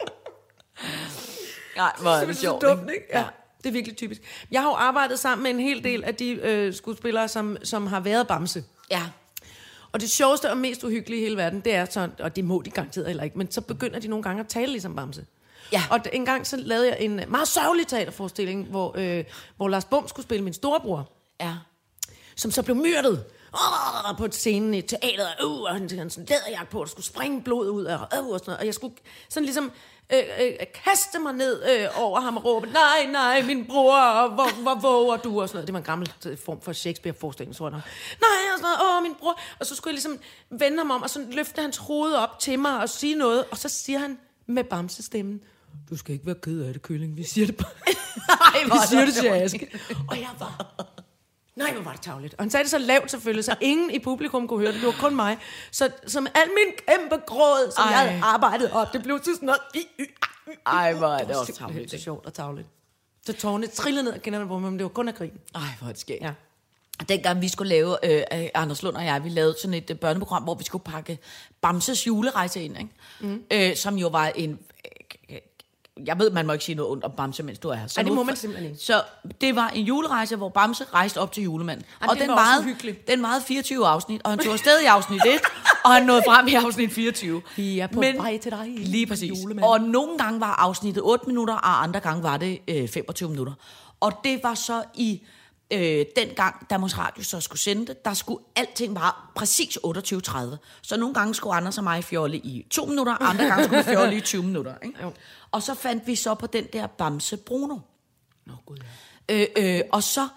[SPEAKER 4] Nej, hvor er det
[SPEAKER 3] Det er
[SPEAKER 4] sjovt.
[SPEAKER 3] så dumt, ikke? Ja. Det er virkelig typisk. Jeg har jo arbejdet sammen med en hel del af de øh, skuespillere, som, som har været bamse.
[SPEAKER 4] Ja.
[SPEAKER 3] Og det sjoveste og mest uhyggelige i hele verden, det er så, og det må de garanteret heller ikke, men så begynder de nogle gange at tale ligesom Bamse.
[SPEAKER 4] Ja.
[SPEAKER 3] Og d- en gang så lavede jeg en øh, meget sørgelig teaterforestilling, hvor, øh, hvor Lars Bum skulle spille min storebror
[SPEAKER 4] Ja.
[SPEAKER 3] som så blev myrdet oh, på scenen i teateret, uh, og han havde sådan en læderjagt på, og der skulle springe blod ud af, uh, og, sådan noget. og jeg skulle sådan ligesom øh, øh, kaste mig ned øh, over ham og råbe, nej, nej, min bror, og hvor, hvor våger du, og sådan noget. Det var en gammel øh, form for Shakespeare-forestilling, tror jeg nok. Nej, og sådan noget, åh, min bror. Og så skulle jeg ligesom vende ham om, og så løfte hans hoved op til mig og sige noget, og så siger han med bamsestemmen, du skal ikke være ked af det, kylling, vi siger det bare.
[SPEAKER 4] Ej,
[SPEAKER 3] Vi siger det til Aske. Og jeg var... Nej, hvor var det tavligt. Og han sagde det så lavt selvfølgelig, så ingen i publikum kunne høre det. Det var kun mig. Så som al min kæmpe gråd, som
[SPEAKER 4] Ej.
[SPEAKER 3] Ej. jeg havde arbejdet op, det blev til sådan noget... I, y, a, y, y.
[SPEAKER 4] Ej, hvor er det også
[SPEAKER 3] simpelthen
[SPEAKER 4] tarveligt,
[SPEAKER 3] så
[SPEAKER 4] ikke?
[SPEAKER 3] sjovt og tavligt. Så tårne trillede ned og kender man på mig, men det var kun af grin.
[SPEAKER 4] Ej, hvor er det skægt.
[SPEAKER 3] Ja.
[SPEAKER 4] Dengang vi skulle lave, øh, øh, Anders Lund og jeg, vi lavede sådan et øh, børneprogram, hvor vi skulle pakke Bamses julerejse ind, ikke? Mm. Øh, som jo var en... øh, Jeg ved, man må ikke sige noget ondt om Bamse, mens du er her. Så
[SPEAKER 3] Ej, det
[SPEAKER 4] nu-
[SPEAKER 3] må man simpelthen ikke.
[SPEAKER 4] Så det var en julerejse, hvor Bamse rejste op til julemanden.
[SPEAKER 3] Ej, den var også hyggelig.
[SPEAKER 4] den varede 24 afsnit, og han tog afsted i afsnit 1, og han nåede frem i afsnit 24.
[SPEAKER 3] Vi er på vej til dig,
[SPEAKER 4] Lige præcis.
[SPEAKER 3] julemand.
[SPEAKER 4] Og nogle gange var afsnittet 8 minutter, og andre gange var det øh, 25 minutter. Og det var så i øh, den gang, Danmarks Radio så skulle sende det, der skulle alting være præcis 28.30. Så nogle gange skulle Anders og mig fjolle i 2 minutter, andre gange skulle vi fjolle i 20 minutter. Ikke?
[SPEAKER 3] Jo.
[SPEAKER 4] Og så fandt vi så på den der Bamse Bruno.
[SPEAKER 3] Nå, gud. ja.
[SPEAKER 4] Øh, øh, og så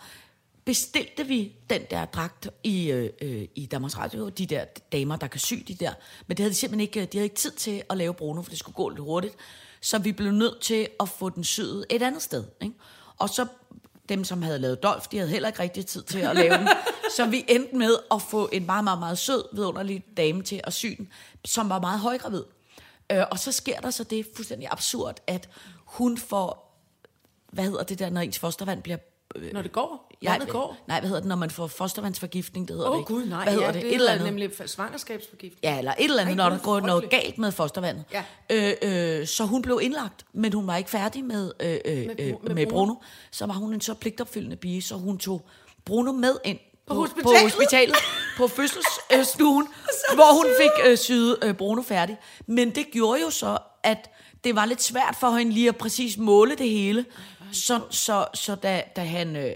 [SPEAKER 4] bestilte vi den der dragt i, øh, øh, i Danmarks Radio, de der damer, der kan sy de der. Men det havde de simpelthen ikke, øh, de havde ikke tid til at lave Bruno, for det skulle gå lidt hurtigt. Så vi blev nødt til at få den syet et andet sted. Ikke? Og så dem, som havde lavet Dolf, de havde heller ikke rigtig tid til at lave den. Så vi endte med at få en meget, meget, meget sød, vidunderlig dame til at sy den, som var meget højgravid. Øh, og så sker der så det fuldstændig absurd, at hun får hvad hedder det der, når ens fostervand bliver... Øh,
[SPEAKER 3] Når det går?
[SPEAKER 4] jeg-
[SPEAKER 3] Når det går?
[SPEAKER 4] Nej, hvad hedder det, når man får fostervandsforgiftning, det hedder
[SPEAKER 3] Åh,
[SPEAKER 4] det
[SPEAKER 3] oh,
[SPEAKER 4] ikke.
[SPEAKER 3] gud, nej.
[SPEAKER 4] Hvad hedder
[SPEAKER 3] ja,
[SPEAKER 4] det?
[SPEAKER 3] det
[SPEAKER 4] Et eller
[SPEAKER 3] hedder
[SPEAKER 4] andet. Nemlig...
[SPEAKER 3] nemlig fa- svangerskabsforgiftning.
[SPEAKER 4] Ja, eller et eller andet,
[SPEAKER 3] Ej,
[SPEAKER 4] når
[SPEAKER 3] gud,
[SPEAKER 4] der går noget
[SPEAKER 3] frygteligt.
[SPEAKER 4] galt med fostervandet.
[SPEAKER 3] Ja.
[SPEAKER 4] Øh, øh, så hun blev indlagt, men hun var ikke færdig med, øh, øh, med,
[SPEAKER 3] Bru-
[SPEAKER 4] med,
[SPEAKER 3] med
[SPEAKER 4] med Bruno.
[SPEAKER 3] Bruno.
[SPEAKER 4] Så var hun en så pligtopfyldende pige, så hun tog Bruno med ind på, på
[SPEAKER 3] hospitalet.
[SPEAKER 4] hospitalet, på fødselsstuen, øh, stuen, hvor hun fik øh, syet øh, Bruno færdig. Men det gjorde jo så, at det var lidt svært for hende lige at præcis måle det hele. Så, så, så da, da han... Øh,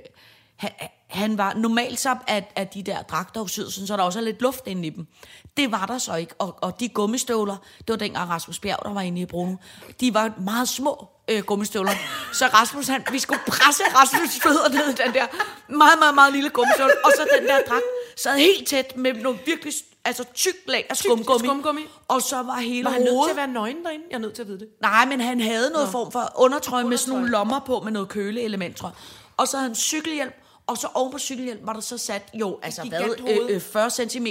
[SPEAKER 4] han, han var normalt så at, at de der dragter jo syede, sådan, så der også er lidt luft inde i dem. Det var der så ikke. Og, og de gummistøvler, det var dengang Rasmus Bjerg, der var inde i Bruno, de var meget små øh, gummistøvler. Så Rasmus, han, vi skulle presse Rasmus' fødder ned i den der meget, meget, meget lille gummistøvle. Og så den der dragt sad helt tæt med nogle virkelig altså, tyk lag af skumgummi.
[SPEAKER 3] skumgummi.
[SPEAKER 4] Og så var hele
[SPEAKER 3] Var han nødt til
[SPEAKER 4] hovedet...
[SPEAKER 3] at være nøgen derinde? Jeg er nødt til at vide det.
[SPEAKER 4] Nej, men han havde noget form for undertrøje med sådan
[SPEAKER 3] Undertrøje.
[SPEAKER 4] nogle lommer på med noget køleelement, tror jeg. Og så havde han cykelhjelm, og så oven på cykelhjelm var der så sat, jo, altså hvad,
[SPEAKER 3] giganthoved.
[SPEAKER 4] øh, øh, 40 cm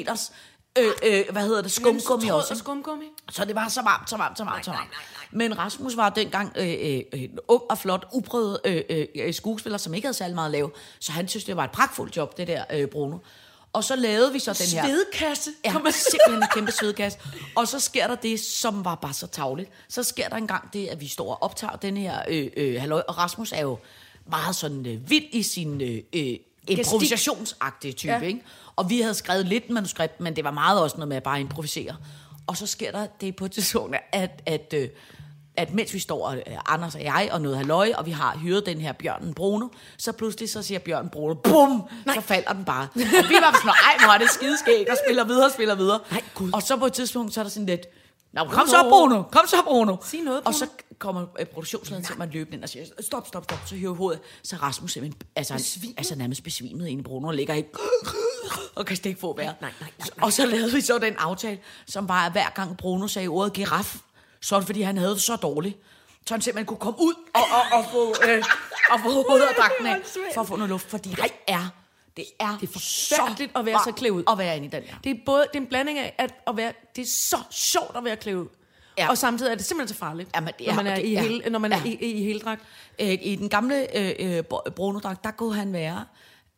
[SPEAKER 4] Øh, øh, hvad hedder det, skumgummi
[SPEAKER 3] Mønstertråd
[SPEAKER 4] også.
[SPEAKER 3] og
[SPEAKER 4] ikke?
[SPEAKER 3] skumgummi.
[SPEAKER 4] Så det var så varmt, så varmt, så varmt, så varmt. Men Rasmus var dengang øh, øh, en ung og flot, uprøvet øh, øh, øh, skuespiller, som ikke havde særlig meget at lave. Så han synes, det var et pragtfuldt job, det der øh, Bruno. Og så lavede vi så den her...
[SPEAKER 3] Svedekasse.
[SPEAKER 4] Ja,
[SPEAKER 3] Kom med-
[SPEAKER 4] simpelthen en kæmpe svedgas. Og så sker der det, som var bare så tavligt. Så sker der engang det, at vi står og optager den her øh, øh, halløj, og Rasmus er jo meget sådan øh, vild i sin øh, øh, improvisationsagtige type, ja.
[SPEAKER 3] Ja.
[SPEAKER 4] ikke? Og vi havde skrevet lidt manuskript, men det var meget også noget med at bare improvisere. Og så sker der det på et tidspunkt, at, at, øh, at mens vi står, og, øh, Anders og jeg, og noget halløj, og vi har hyret den her Bjørnen Bruno, så pludselig så siger Bjørnen Bruno, bum, så falder den bare. Og vi var sådan, ej, hvor er det skideskægt, og spiller videre, spiller videre.
[SPEAKER 3] Nej, Gud.
[SPEAKER 4] Og så på et tidspunkt, så er der sådan lidt, Nå, kom så, Bruno, kom så, Bruno.
[SPEAKER 3] Sig noget,
[SPEAKER 4] Og
[SPEAKER 3] Bruno.
[SPEAKER 4] så kommer øh, produktionslederen til mig løbende ind og siger, stop, stop, stop, så hører hovedet. Så er Rasmus simpelthen, altså, han, altså nærmest besvimet inde i Bruno, og ligger helt og kan slet ikke få vejret.
[SPEAKER 3] nej, nej, nej.
[SPEAKER 4] Og så lavede vi så den aftale, som var, at hver gang Bruno sagde ordet giraf, så var det, fordi han havde det så dårligt. Så han simpelthen kunne komme ud og, og, og få, øh, og få hovedet og dragten af, for at få noget luft, fordi det er, det er, det er
[SPEAKER 3] forfærdeligt at være så klædt ud.
[SPEAKER 4] At være inde i den her.
[SPEAKER 3] Det er både det er en blanding af at, at være det er så sjovt at være klædt ud.
[SPEAKER 4] Ja.
[SPEAKER 3] Ja. Og samtidig er det simpelthen så farligt,
[SPEAKER 4] Ja, men det er-
[SPEAKER 3] når man er,
[SPEAKER 4] og det
[SPEAKER 3] i,
[SPEAKER 4] er-
[SPEAKER 3] hele, når man er
[SPEAKER 4] ja.
[SPEAKER 3] i, i, i heldragt.
[SPEAKER 4] Øh, I den gamle øh, øh, Br- Bruno-dragt, der kunne han være...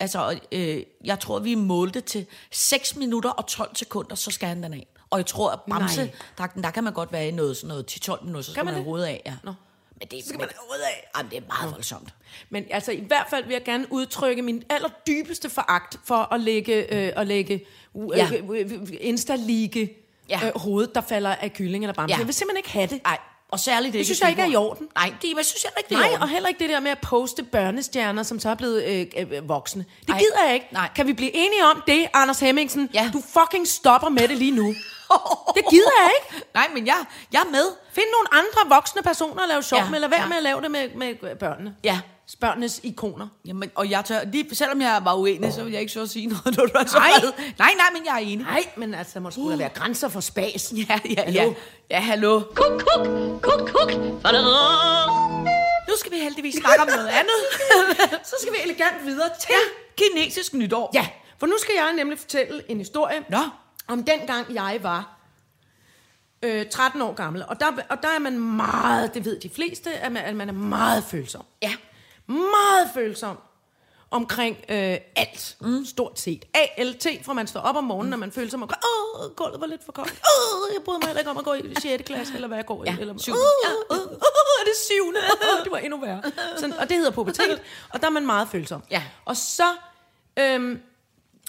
[SPEAKER 4] Altså, øh, jeg tror, vi målte til 6 minutter og 12 sekunder, så skal han den af. Og jeg tror, at Bamse-dragten, der kan man godt være i noget, sådan noget 10-12 minutter, så skal
[SPEAKER 3] Kan
[SPEAKER 4] man
[SPEAKER 3] man
[SPEAKER 4] have
[SPEAKER 3] det?
[SPEAKER 4] hovedet af. Ja.
[SPEAKER 3] Nå.
[SPEAKER 4] Men det, skal man have hovedet af. Jamen, det er meget voldsomt.
[SPEAKER 3] Men altså, i hvert fald vil jeg gerne udtrykke min allerdybeste foragt for at lægge, øh, at lægge uh,
[SPEAKER 4] Ja.
[SPEAKER 3] ja. Insta-lige
[SPEAKER 4] Ja.
[SPEAKER 3] ja. øh, hovedet, der falder af kylling eller bamse.
[SPEAKER 4] Ja.
[SPEAKER 3] Ja. Jeg vil simpelthen ikke have det.
[SPEAKER 4] Nej, og særligt det
[SPEAKER 3] Det synes jeg ikke er i orden.
[SPEAKER 4] Nej, det men jeg synes jeg ikke, det er i
[SPEAKER 3] Nej,
[SPEAKER 4] orden.
[SPEAKER 3] og heller ikke det der med at poste børnestjerner, som så er blevet øh, øh, voksne. Det
[SPEAKER 4] Ej.
[SPEAKER 3] gider jeg ikke.
[SPEAKER 4] Nej.
[SPEAKER 3] Kan vi blive enige om det, Anders Hemmingsen?
[SPEAKER 4] Ja.
[SPEAKER 3] Du fucking stopper med det lige nu. det gider jeg ikke.
[SPEAKER 4] Nej, men jeg, jeg er med.
[SPEAKER 3] Find nogle andre voksne personer at lave sjov
[SPEAKER 4] Ja,
[SPEAKER 3] med, eller vær
[SPEAKER 4] ja.
[SPEAKER 3] med at lave det med, med børnene.
[SPEAKER 4] Ja.
[SPEAKER 3] Børnenes ikoner.
[SPEAKER 4] Jamen, og jeg tør, lige, selvom jeg var uenig, så vil jeg ikke så sige noget, når du er så
[SPEAKER 3] Nej.
[SPEAKER 4] vred. Nej, nej, men jeg er enig.
[SPEAKER 3] Nej, men altså, der må sgu da være grænser for spas.
[SPEAKER 4] Ja, ja,
[SPEAKER 3] Hallo?
[SPEAKER 4] ja. Ja, hallo.
[SPEAKER 2] Kuk, kuk, kuk, kuk.
[SPEAKER 4] Nu skal vi heldigvis snakke om noget andet.
[SPEAKER 3] Så skal vi elegant videre til...
[SPEAKER 4] ja, kinesisk nytår.
[SPEAKER 3] Ja, for nu skal jeg nemlig fortælle en historie
[SPEAKER 4] Nå.
[SPEAKER 3] om dengang jeg var øh, 13 år gammel. Og der, og der er man meget, det ved de fleste, at man, at man er meget følsom.
[SPEAKER 4] Ja.
[SPEAKER 3] Meget følsom. omkring øh, alt, mm. stort set. ALT, fra man står op om morgenen, når man føler sig, at åh, gulvet var lidt for koldt. Åh, jeg bryder mig heller ikke om at gå i 6. klasse, eller hvad jeg går i.
[SPEAKER 4] Ja,
[SPEAKER 3] eller,
[SPEAKER 4] syvende.
[SPEAKER 3] Åh, åh, åh, er det syvende? Åh, det var endnu værre. Sådan, og det hedder pubertet, og der er man meget følsom.
[SPEAKER 4] Ja.
[SPEAKER 3] Og så øhm,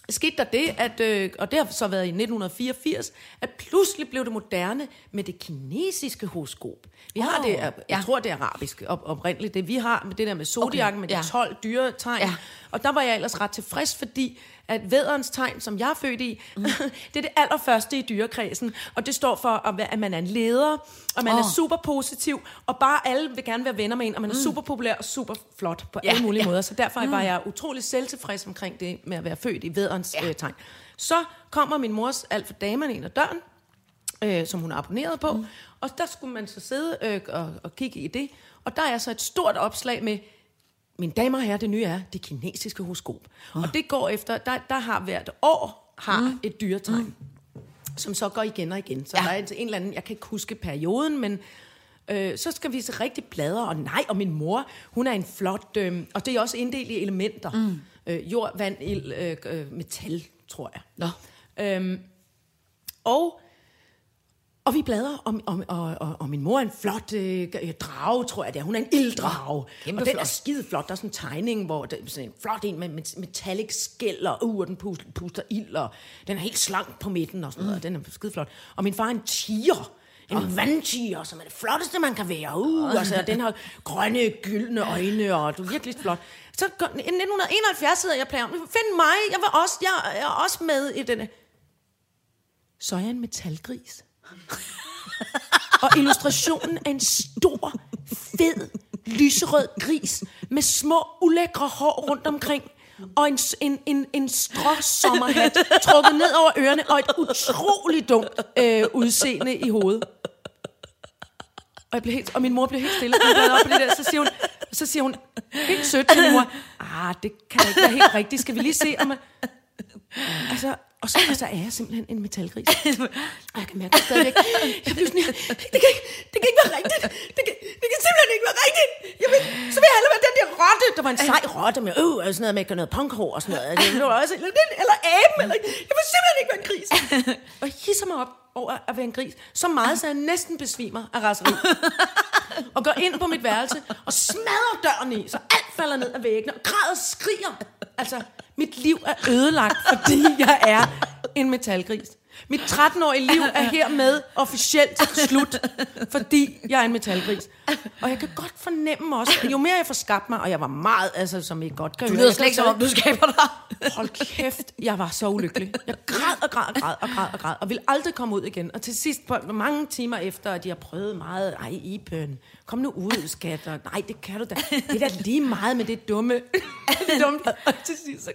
[SPEAKER 3] skete der det, at, øh, og det har så været i 1984, at pludselig blev det moderne med det kinesiske horoskop. Vi har
[SPEAKER 4] Wow.
[SPEAKER 3] det, øh, jeg
[SPEAKER 4] Ja.
[SPEAKER 3] ja. tror det er arabisk op, oprindeligt, det vi har med det der med zodiakken, okay.
[SPEAKER 4] Okay,
[SPEAKER 3] med de
[SPEAKER 4] ja.
[SPEAKER 3] 12 dyretegn.
[SPEAKER 4] Ja.
[SPEAKER 3] Ja. Og der var jeg ellers ret tilfreds, fordi at vædderens tegn, som jeg er født i, mm. det er det allerførste i dyrekredsen, og det står for, at være- at man er en leder, og man oh. er
[SPEAKER 4] Åh.
[SPEAKER 3] super positiv, og bare alle vil gerne være venner med en, og man er mm. super populær og super flot på
[SPEAKER 4] Ja,
[SPEAKER 3] ja, alle mulige
[SPEAKER 4] ja.
[SPEAKER 3] ja. måder. Så derfor mm. var jeg utrolig selvtilfreds omkring det med at være født i vædderens ja. øh, tegn. Så kommer min mors alt for damerne ind ad døren, øh, som hun er abonneret på. Mm. Og der skulle man så sidde øh, og, og kigge i det. Og der er så et stort opslag med, mine damer og herrer, det nye er det kinesiske horoskop. Oh. Og det går efter, der, der har hvert år har mm. et dyretegn, mm. som så går igen og igen. Så
[SPEAKER 4] Ja.
[SPEAKER 3] ja. der er en, en eller anden, jeg kan ikke huske perioden, men øh, så skal vi se rigtig bladre, og nej, og min mor, hun er en flot, øh, og det er også inddelt i elementer. Mm. Øh, jord, vand, ild, øh, øh, metal, tror jeg.
[SPEAKER 4] Nå.
[SPEAKER 3] Øhm, og, og vi bladrer, og, og, og, og, og min mor er en flot øh, g- øh, drage, tror jeg det er. Hun er en ilddrage.
[SPEAKER 4] Kæmpe
[SPEAKER 3] og den er
[SPEAKER 4] flot.
[SPEAKER 3] skide flot. Der er sådan en tegning, hvor det er sådan en flot en med met- metallic skæld, og, uh, og den puster, puster ild, og den er helt slank på midten, og sådan noget, og den er skide flot. Og min far er en tiger. En oh. vandtiger, som er det flotteste, man kan være. Uh, altså, og den har grønne, gyldne øjne, og du er virkelig flot. Så kom- i 1971 sidder jeg og plager om, find mig, jeg, vil også, jeg er også med i denne så er jeg en metalgris. og illustrationen er en stor, fed, lyserød gris med små, ulækre hår rundt omkring. Og en, s- en, en, en stråsommerhat trukket ned over ørerne, og et utroligt dumt øh, udseende i hovedet. Og, jeg blev helt, og min mor blev helt stille. Hun bladrede op på det der, så siger hun, så siger hun helt sødt til min mor, ah, det kan ikke være helt rigtigt. Skal vi lige se, om man... Altså, og så, og så er jeg simpelthen en metalgris. Og jeg kan mærke det stadigvæk. Jeg bliver sådan, her, det kan, ikke, det kan ikke være rigtigt. Det kan, det kan simpelthen ikke være rigtigt. Jeg vil, så vil jeg hellere være den der rotte. Der var en sej rotte med, øh, og sådan noget med at gøre noget punkhår og sådan noget. Altså, Det var også, eller, den, eller aben. Eller, jeg vil simpelthen ikke være en gris. Og jeg hisser mig op over at være en gris. Så meget, så jeg næsten besvimer af raseri. Og går ind på mit værelse og smadrer døren i, så alt falder ned af væggene og græder og skriger. Altså, mit liv er ødelagt, fordi jeg er en metalgris. Mit 13-årige liv er hermed officielt slut, fordi jeg er en metalgris. Og jeg kan godt fornemme også, at jo mere jeg får skabt mig, og jeg var meget, altså som I godt kan
[SPEAKER 4] Du
[SPEAKER 3] høre,
[SPEAKER 4] lyder
[SPEAKER 3] jeg
[SPEAKER 4] slet ikke, som
[SPEAKER 3] sad-
[SPEAKER 4] om du skaber dig.
[SPEAKER 3] Hold kæft, jeg var så ulykkelig. Jeg græd og græd og græd og græd og græd, og ville aldrig komme ud igen. Og til sidst, på- mange timer efter, at de har prøvet meget, ej, Iben, kom nu ud, skat, og nej, det kan du da. Det er da lige meget med det dumme. det dumme. Og til sidst, så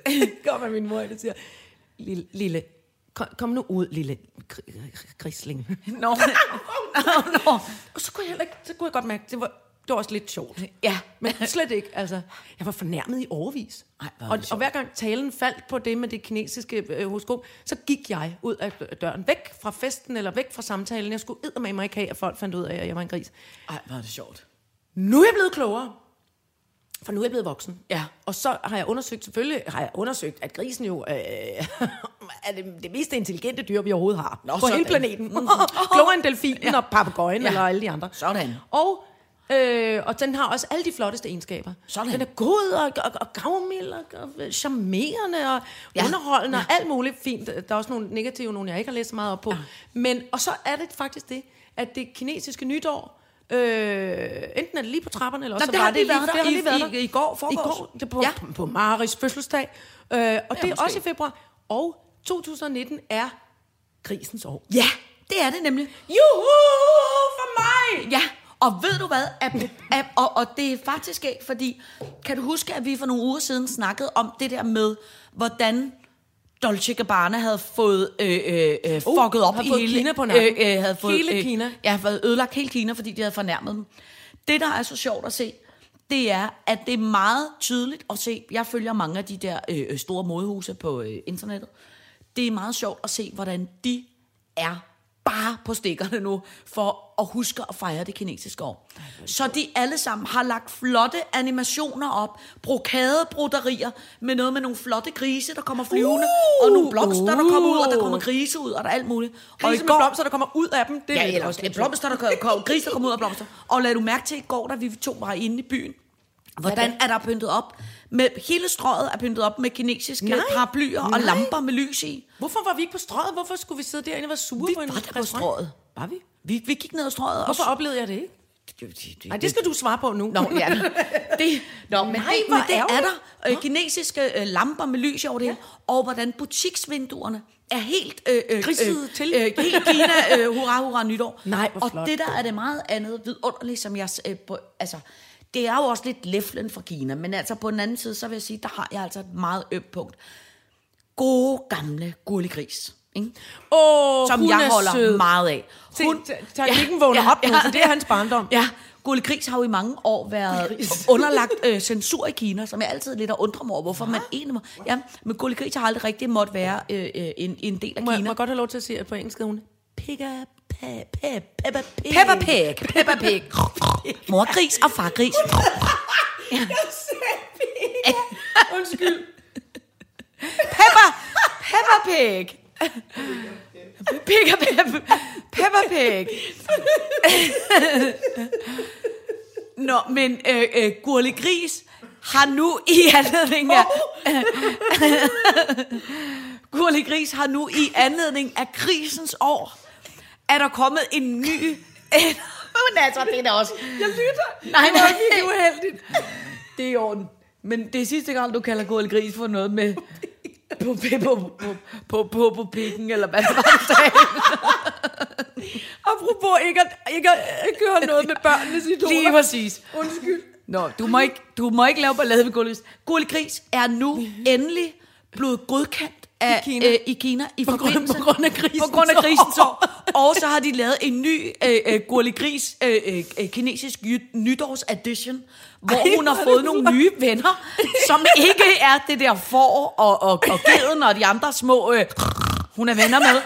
[SPEAKER 3] kommer min mor ind og siger, lille, lille kom, kom nu ud, lille krisling.
[SPEAKER 4] Nå, nå, nå.
[SPEAKER 3] Og så kunne jeg heller ikke, så kunne jeg godt mærke, det var, det var også lidt sjovt.
[SPEAKER 4] Ja.
[SPEAKER 3] Men slet ikke, altså. Jeg var fornærmet i overvis.
[SPEAKER 4] Ej, hvor er det
[SPEAKER 3] og,
[SPEAKER 4] sjovt.
[SPEAKER 3] og hver gang talen faldt på det med det kinesiske øh, horoskop, så gik jeg ud af døren, væk fra festen eller væk fra samtalen. Jeg skulle eddermame mig ikke have, at folk fandt ud af, at jeg var en gris.
[SPEAKER 4] Ej, hvor er det sjovt.
[SPEAKER 3] Nu er jeg blevet klogere. For nu er jeg blevet voksen.
[SPEAKER 4] Ja.
[SPEAKER 3] Og så har jeg undersøgt, selvfølgelig har jeg undersøgt, at grisen jo øh, er det, det mest intelligente dyr, vi overhovedet har.
[SPEAKER 4] Nå,
[SPEAKER 3] på
[SPEAKER 4] sådan.
[SPEAKER 3] hele planeten. Klogere end delfinen ja. og papegøjen ja. eller alle de andre.
[SPEAKER 4] Sådan.
[SPEAKER 3] Og, øh, og den har også alle de flotteste egenskaber.
[SPEAKER 4] Sådan.
[SPEAKER 3] Den er god og, og, og gavmild og, og charmerende og
[SPEAKER 4] Ja.
[SPEAKER 3] ja. underholdende ja. og alt muligt fint. Der er også nogle negative, nogle jeg ikke har læst så meget op på. Ja. Men, og så er det faktisk det, at det kinesiske nytår, øh, enten er det lige på trapperne, eller også så
[SPEAKER 4] Nå, det
[SPEAKER 3] var
[SPEAKER 4] har
[SPEAKER 3] det
[SPEAKER 4] lige været
[SPEAKER 3] lige, det
[SPEAKER 4] der.
[SPEAKER 3] har
[SPEAKER 4] I-
[SPEAKER 3] lige været der.
[SPEAKER 4] i- i går,
[SPEAKER 3] I
[SPEAKER 4] forgårs.
[SPEAKER 3] går, det er på,
[SPEAKER 4] Ja.
[SPEAKER 3] ja. på Maris fødselsdag. Øh, og det er
[SPEAKER 4] måske.
[SPEAKER 3] også i februar. Og 2019 er grisens år.
[SPEAKER 4] Ja, det er det nemlig.
[SPEAKER 3] Juhu for mig!
[SPEAKER 4] Ja, og ved du hvad? At, at, og, og det er faktisk ikke, fordi... Kan du huske, at vi for nogle uger siden snakkede om det der med, hvordan Dolce Gabbana havde fået øh, øh, øh, fucket op
[SPEAKER 3] havde
[SPEAKER 4] i
[SPEAKER 3] fået
[SPEAKER 4] hele...
[SPEAKER 3] Kina på nakken.
[SPEAKER 4] øh, havde fået,
[SPEAKER 3] Hele Kina.
[SPEAKER 4] Jeg har været ødelagt hele Kina, fordi de havde fornærmet dem. Det, der er så sjovt at se, det er, at det er meget tydeligt at se. Jeg følger mange af de der øh, øh, store modehuse på øh, internettet. Det er meget sjovt at se, hvordan de er bare på stikkerne nu, for at huske at fejre det kinesiske år. Så de alle sammen har lagt flotte animationer op, brokadebroderier, med noget med nogle flotte grise, der kommer flyvende, uh, og nogle blomster, der kommer ud, og der kommer grise ud, og der er alt muligt. og
[SPEAKER 3] Uh!
[SPEAKER 4] i
[SPEAKER 3] Grise med blomster, der kommer ud af dem. Det er
[SPEAKER 4] Ja,
[SPEAKER 3] lidt
[SPEAKER 4] eller
[SPEAKER 3] også
[SPEAKER 4] også
[SPEAKER 3] lidt sjovt.
[SPEAKER 4] blomster, der kom, kom, gris, der kom ud af blomster. Og lad du mærke til i går, da vi to var inde i byen, hvordan er der pyntet op? Med, hele strøget er pyntet op med kinesiske
[SPEAKER 3] Nej.
[SPEAKER 4] paraplyer og
[SPEAKER 3] Nej.
[SPEAKER 4] lamper med lys i.
[SPEAKER 3] Hvorfor var vi ikke på strøget? Hvorfor skulle vi sidde derinde og være sure
[SPEAKER 4] Vi
[SPEAKER 3] på en
[SPEAKER 4] var der på
[SPEAKER 3] restaurant?
[SPEAKER 4] strøget.
[SPEAKER 3] Var vi?
[SPEAKER 4] Vi, vi gik ned ad strøget.
[SPEAKER 3] Hvorfor oplevede jeg det ikke?
[SPEAKER 4] Og,
[SPEAKER 3] Nej, det skal du svare på nu.
[SPEAKER 4] Nå, ja. Det, Nå, men,
[SPEAKER 3] Nej,
[SPEAKER 4] det,
[SPEAKER 3] hvor
[SPEAKER 4] men det er
[SPEAKER 3] ærgerligt.
[SPEAKER 4] der. Øh, kinesiske øh, lamper med lys over det ja. Og hvordan butiksvinduerne er helt... Øh, øh,
[SPEAKER 3] Griset til.
[SPEAKER 4] Øh, helt Kina, øh, hurra, hurra, nytår.
[SPEAKER 3] Nej, hvor
[SPEAKER 4] og
[SPEAKER 3] flot.
[SPEAKER 4] det der er det meget andet vidunderligt, som jeg... Øh, på, altså, det er jo også lidt leflen fra Kina, men altså på den anden side, så vil jeg sige, der har jeg altså et meget ømt punkt. Gode gamle gurlegris. Ikke?
[SPEAKER 3] Åh,
[SPEAKER 4] som
[SPEAKER 3] hun
[SPEAKER 4] jeg
[SPEAKER 3] er
[SPEAKER 4] holder
[SPEAKER 3] sød.
[SPEAKER 4] meget af.
[SPEAKER 3] Se, ta- teknikken vågner op nu, så det er hans barndom.
[SPEAKER 4] Ja, Gulli Gris har jo i mange år været underlagt øh, censur i Kina, som jeg altid lidt har undret mig over, hvorfor man egentlig må... Ja, men Gulli Gris har aldrig rigtig måtte være øh, øh, en, en del af
[SPEAKER 3] Må, jeg-
[SPEAKER 4] Kina.
[SPEAKER 3] må jeg godt have lov til at sige, at på engelsk hedder hun
[SPEAKER 4] Pigga, pe, pe, Peppa Pig. Peppa Pig. Peppa Pig. Morgris og fargris.
[SPEAKER 3] Undskyld.
[SPEAKER 4] Peppa, Peppa Pig. Pigga, Peppa, Peppa Pig. Nå, men øh, øh, Gurli Gris har nu i anledning af... Gurli Gris har nu i anledning af krisens år, er der kommet en ny... Men altså, det er da også... Jeg lytter. Nej, nej. Det er uheldigt. Det er i orden. Men det er sidste gang, du kalder Gurli Gris for noget med... På, på, på, på, på, på, på pikken, eller hvad det var, du sagde.
[SPEAKER 3] Apropos ikke at, ikke at, ikke at gøre noget med børnenes idoler.
[SPEAKER 4] Lige præcis.
[SPEAKER 3] Undskyld.
[SPEAKER 4] Nå, du må ikke, du må ikke lave ballade med Gullegris. Gullegris er nu endelig blevet godkendt af, I Kina,
[SPEAKER 3] Mhm. Kina.
[SPEAKER 4] øh, i, Kina i på,
[SPEAKER 3] grund-
[SPEAKER 4] forbindelse,
[SPEAKER 3] på grund af grisens
[SPEAKER 4] på grund af
[SPEAKER 3] år.
[SPEAKER 4] grisens år. Og så har de lavet en ny øh, øh, Gullegris øh, øh, øh, kinesisk jy- nytårs edition, hvor
[SPEAKER 3] Ej,
[SPEAKER 4] Ej, hun har
[SPEAKER 3] hvor er
[SPEAKER 4] fået
[SPEAKER 3] det
[SPEAKER 4] nogle
[SPEAKER 3] flot.
[SPEAKER 4] nye venner, som ikke er det der får og, og, og geden og de andre små, øh, hun er venner med,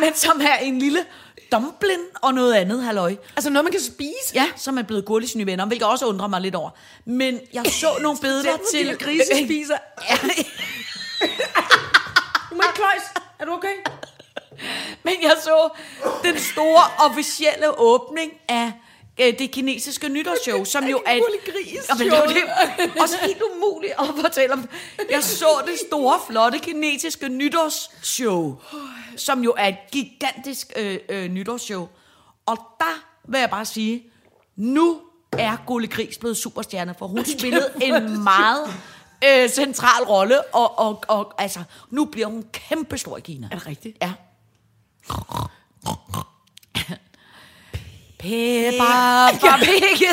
[SPEAKER 4] men som er en lille dumpling og noget andet, halløj.
[SPEAKER 3] Altså noget, man kan spise.
[SPEAKER 4] Ja, som er blevet gurlis nye venner, hvilket jeg også undrer mig lidt over. Men jeg så nogle billeder
[SPEAKER 3] Specielt,
[SPEAKER 4] til...
[SPEAKER 3] når de grise spiser.
[SPEAKER 4] Ja,
[SPEAKER 3] Du må ikke kløjs. Er du okay?
[SPEAKER 4] men jeg så den store officielle åbning af øh, det kinesiske nytårsshow, som jo er... et-
[SPEAKER 3] Gurli-gris-show.
[SPEAKER 4] Jamen, det var det. Også helt umuligt at fortælle om. Jeg så det store, flotte kinesiske nytårsshow, som jo er et gigantisk øh, øh, nytårsshow. Og der vil jeg bare sige, nu er Gulli Gris blevet superstjerne, for hun spillede en meget øh, central rolle, og, og, og altså, nu bliver hun kæmpestor i Kina.
[SPEAKER 3] det rigtigt?
[SPEAKER 4] Ja. Peppa Pig.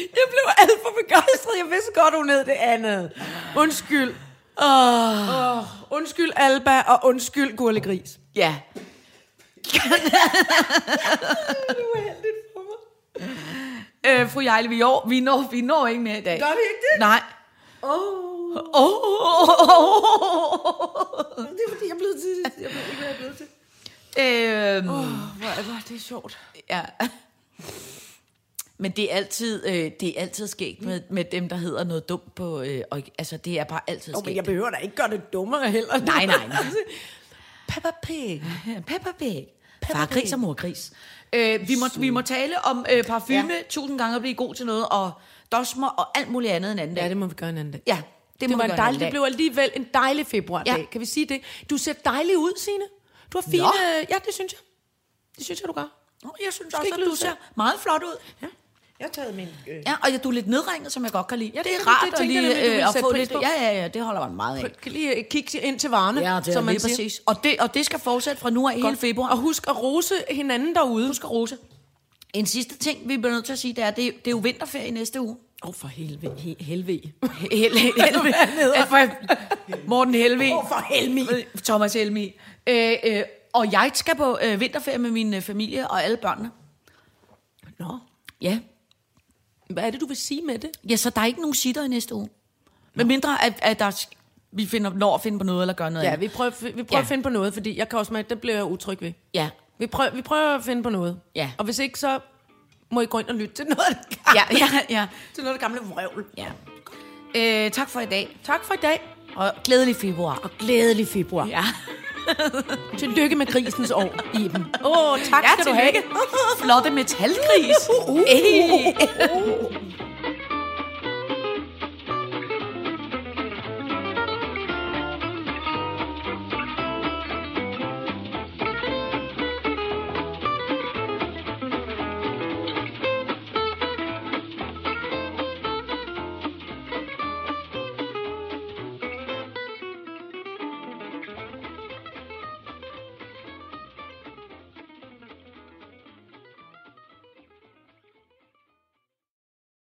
[SPEAKER 3] Jeg blev alt for begejstret. Jeg vidste godt, hun hed det andet. Undskyld. Oh. Oh. Undskyld Alba, og undskyld Gurle Gris.
[SPEAKER 4] Ja. Øh, fru Jejle, vi når, vi, når, vi når ikke mere i dag.
[SPEAKER 3] Gør vi ikke det?
[SPEAKER 4] Nej.
[SPEAKER 3] Oh.
[SPEAKER 4] Åh, oh,
[SPEAKER 3] Det er fordi, jeg er blevet til. Jeg ved ikke, hvad jeg er blevet til.
[SPEAKER 4] Øhm,
[SPEAKER 3] Hvor er hvor er det sjovt.
[SPEAKER 4] ja. Men det er altid, øh, det er altid skægt med, med dem, der hedder noget dumt på... Øh, og, altså, det er bare altid
[SPEAKER 3] Jo, men jeg
[SPEAKER 4] skægt.
[SPEAKER 3] behøver da ikke gøre det dummere heller. Altså,
[SPEAKER 4] Nej, nej, nej.
[SPEAKER 3] Peppa Pig.
[SPEAKER 4] Peppa Pig.
[SPEAKER 3] Peppa
[SPEAKER 4] Far gris
[SPEAKER 3] Pig.
[SPEAKER 4] og mor gris. Øh, vi, må, vi må tale om øh, parfume ja. tusind gange og blive god til noget, og dosmer og alt muligt andet en anden dag.
[SPEAKER 3] Ja, det må vi gøre en anden dag.
[SPEAKER 4] Ja, det,
[SPEAKER 3] Det,
[SPEAKER 4] må
[SPEAKER 3] det, var en
[SPEAKER 4] vi gøre
[SPEAKER 3] dejlig,
[SPEAKER 4] en
[SPEAKER 3] det
[SPEAKER 4] anden
[SPEAKER 3] blev alligevel en dejlig februar
[SPEAKER 4] Ja.
[SPEAKER 3] dag. Kan vi sige det? Du ser dejlig ud, Signe. Du har fine... Ja, det synes jeg. Det synes jeg, du gør.
[SPEAKER 4] dag. Nå, jeg synes
[SPEAKER 3] skal
[SPEAKER 4] også,
[SPEAKER 3] ikke
[SPEAKER 4] at du
[SPEAKER 3] lyde
[SPEAKER 4] ser
[SPEAKER 3] sød.
[SPEAKER 4] meget flot ud. Ja.
[SPEAKER 3] Jeg har taget min... Øh,
[SPEAKER 4] ja, og ja, du er lidt nedringet, som jeg godt kan lide.
[SPEAKER 3] Ja,
[SPEAKER 4] det
[SPEAKER 3] det-
[SPEAKER 4] er
[SPEAKER 3] det
[SPEAKER 4] rart at,
[SPEAKER 3] tænkte jeg nemlig,
[SPEAKER 4] lige,
[SPEAKER 3] du ville
[SPEAKER 4] øh, at
[SPEAKER 3] sætte
[SPEAKER 4] få
[SPEAKER 3] pris
[SPEAKER 4] lidt...
[SPEAKER 3] på.
[SPEAKER 4] Ja, ja, ja, det holder man meget af.
[SPEAKER 3] kan lige øh, kigge ind til varerne,
[SPEAKER 4] Ja, det er
[SPEAKER 3] som man
[SPEAKER 4] lige
[SPEAKER 3] siger.
[SPEAKER 4] præcis. Og det, og det skal fortsætte fra nu af hele februar.
[SPEAKER 3] Og husk at rose hinanden derude.
[SPEAKER 4] husk at rose. En sidste ting, vi bliver nødt til at sige, det er, det, det er jo vinterferie næste uge.
[SPEAKER 3] Åh, oh, for helvede. He, helvede.
[SPEAKER 4] Hel, Helmi. Morten Helmi.
[SPEAKER 3] Åh, for Helmi.
[SPEAKER 4] Thomas Helmi. Øh, øh, og jeg skal på øh, vinterferie med min øh, familie og alle børnene.
[SPEAKER 3] Nå,
[SPEAKER 4] Ja.
[SPEAKER 3] hvad er det, du vil sige med det?
[SPEAKER 4] Ja, så der er ikke nogen sitter i næste uge. Med mindre, at, at der... vi finder, når at finde på noget, eller gøre noget
[SPEAKER 3] Ja,
[SPEAKER 4] andet.
[SPEAKER 3] vi prøver, vi prøver ja.
[SPEAKER 4] Ja.
[SPEAKER 3] at finde på noget, fordi jeg kan også mærke, det bliver jeg utryg ved.
[SPEAKER 4] Ja.
[SPEAKER 3] Vi prøver, vi prøver at finde på noget.
[SPEAKER 4] Ja.
[SPEAKER 3] Og hvis ikke, så må I gå ind og lytte til noget af det gamle,
[SPEAKER 4] Ja, ja, ja.
[SPEAKER 3] til noget af det gamle vrøvl.
[SPEAKER 4] ja. Øh, tak for i dag,
[SPEAKER 3] Tak for i dag.
[SPEAKER 4] og glædelig februar.
[SPEAKER 3] Glædelig februar.
[SPEAKER 4] Ja.
[SPEAKER 3] Tillykke med grisens år, Iben. Åh, oh, tak skal du have.
[SPEAKER 4] Flotte metalgris. Uh, uh, uh, uh, uh.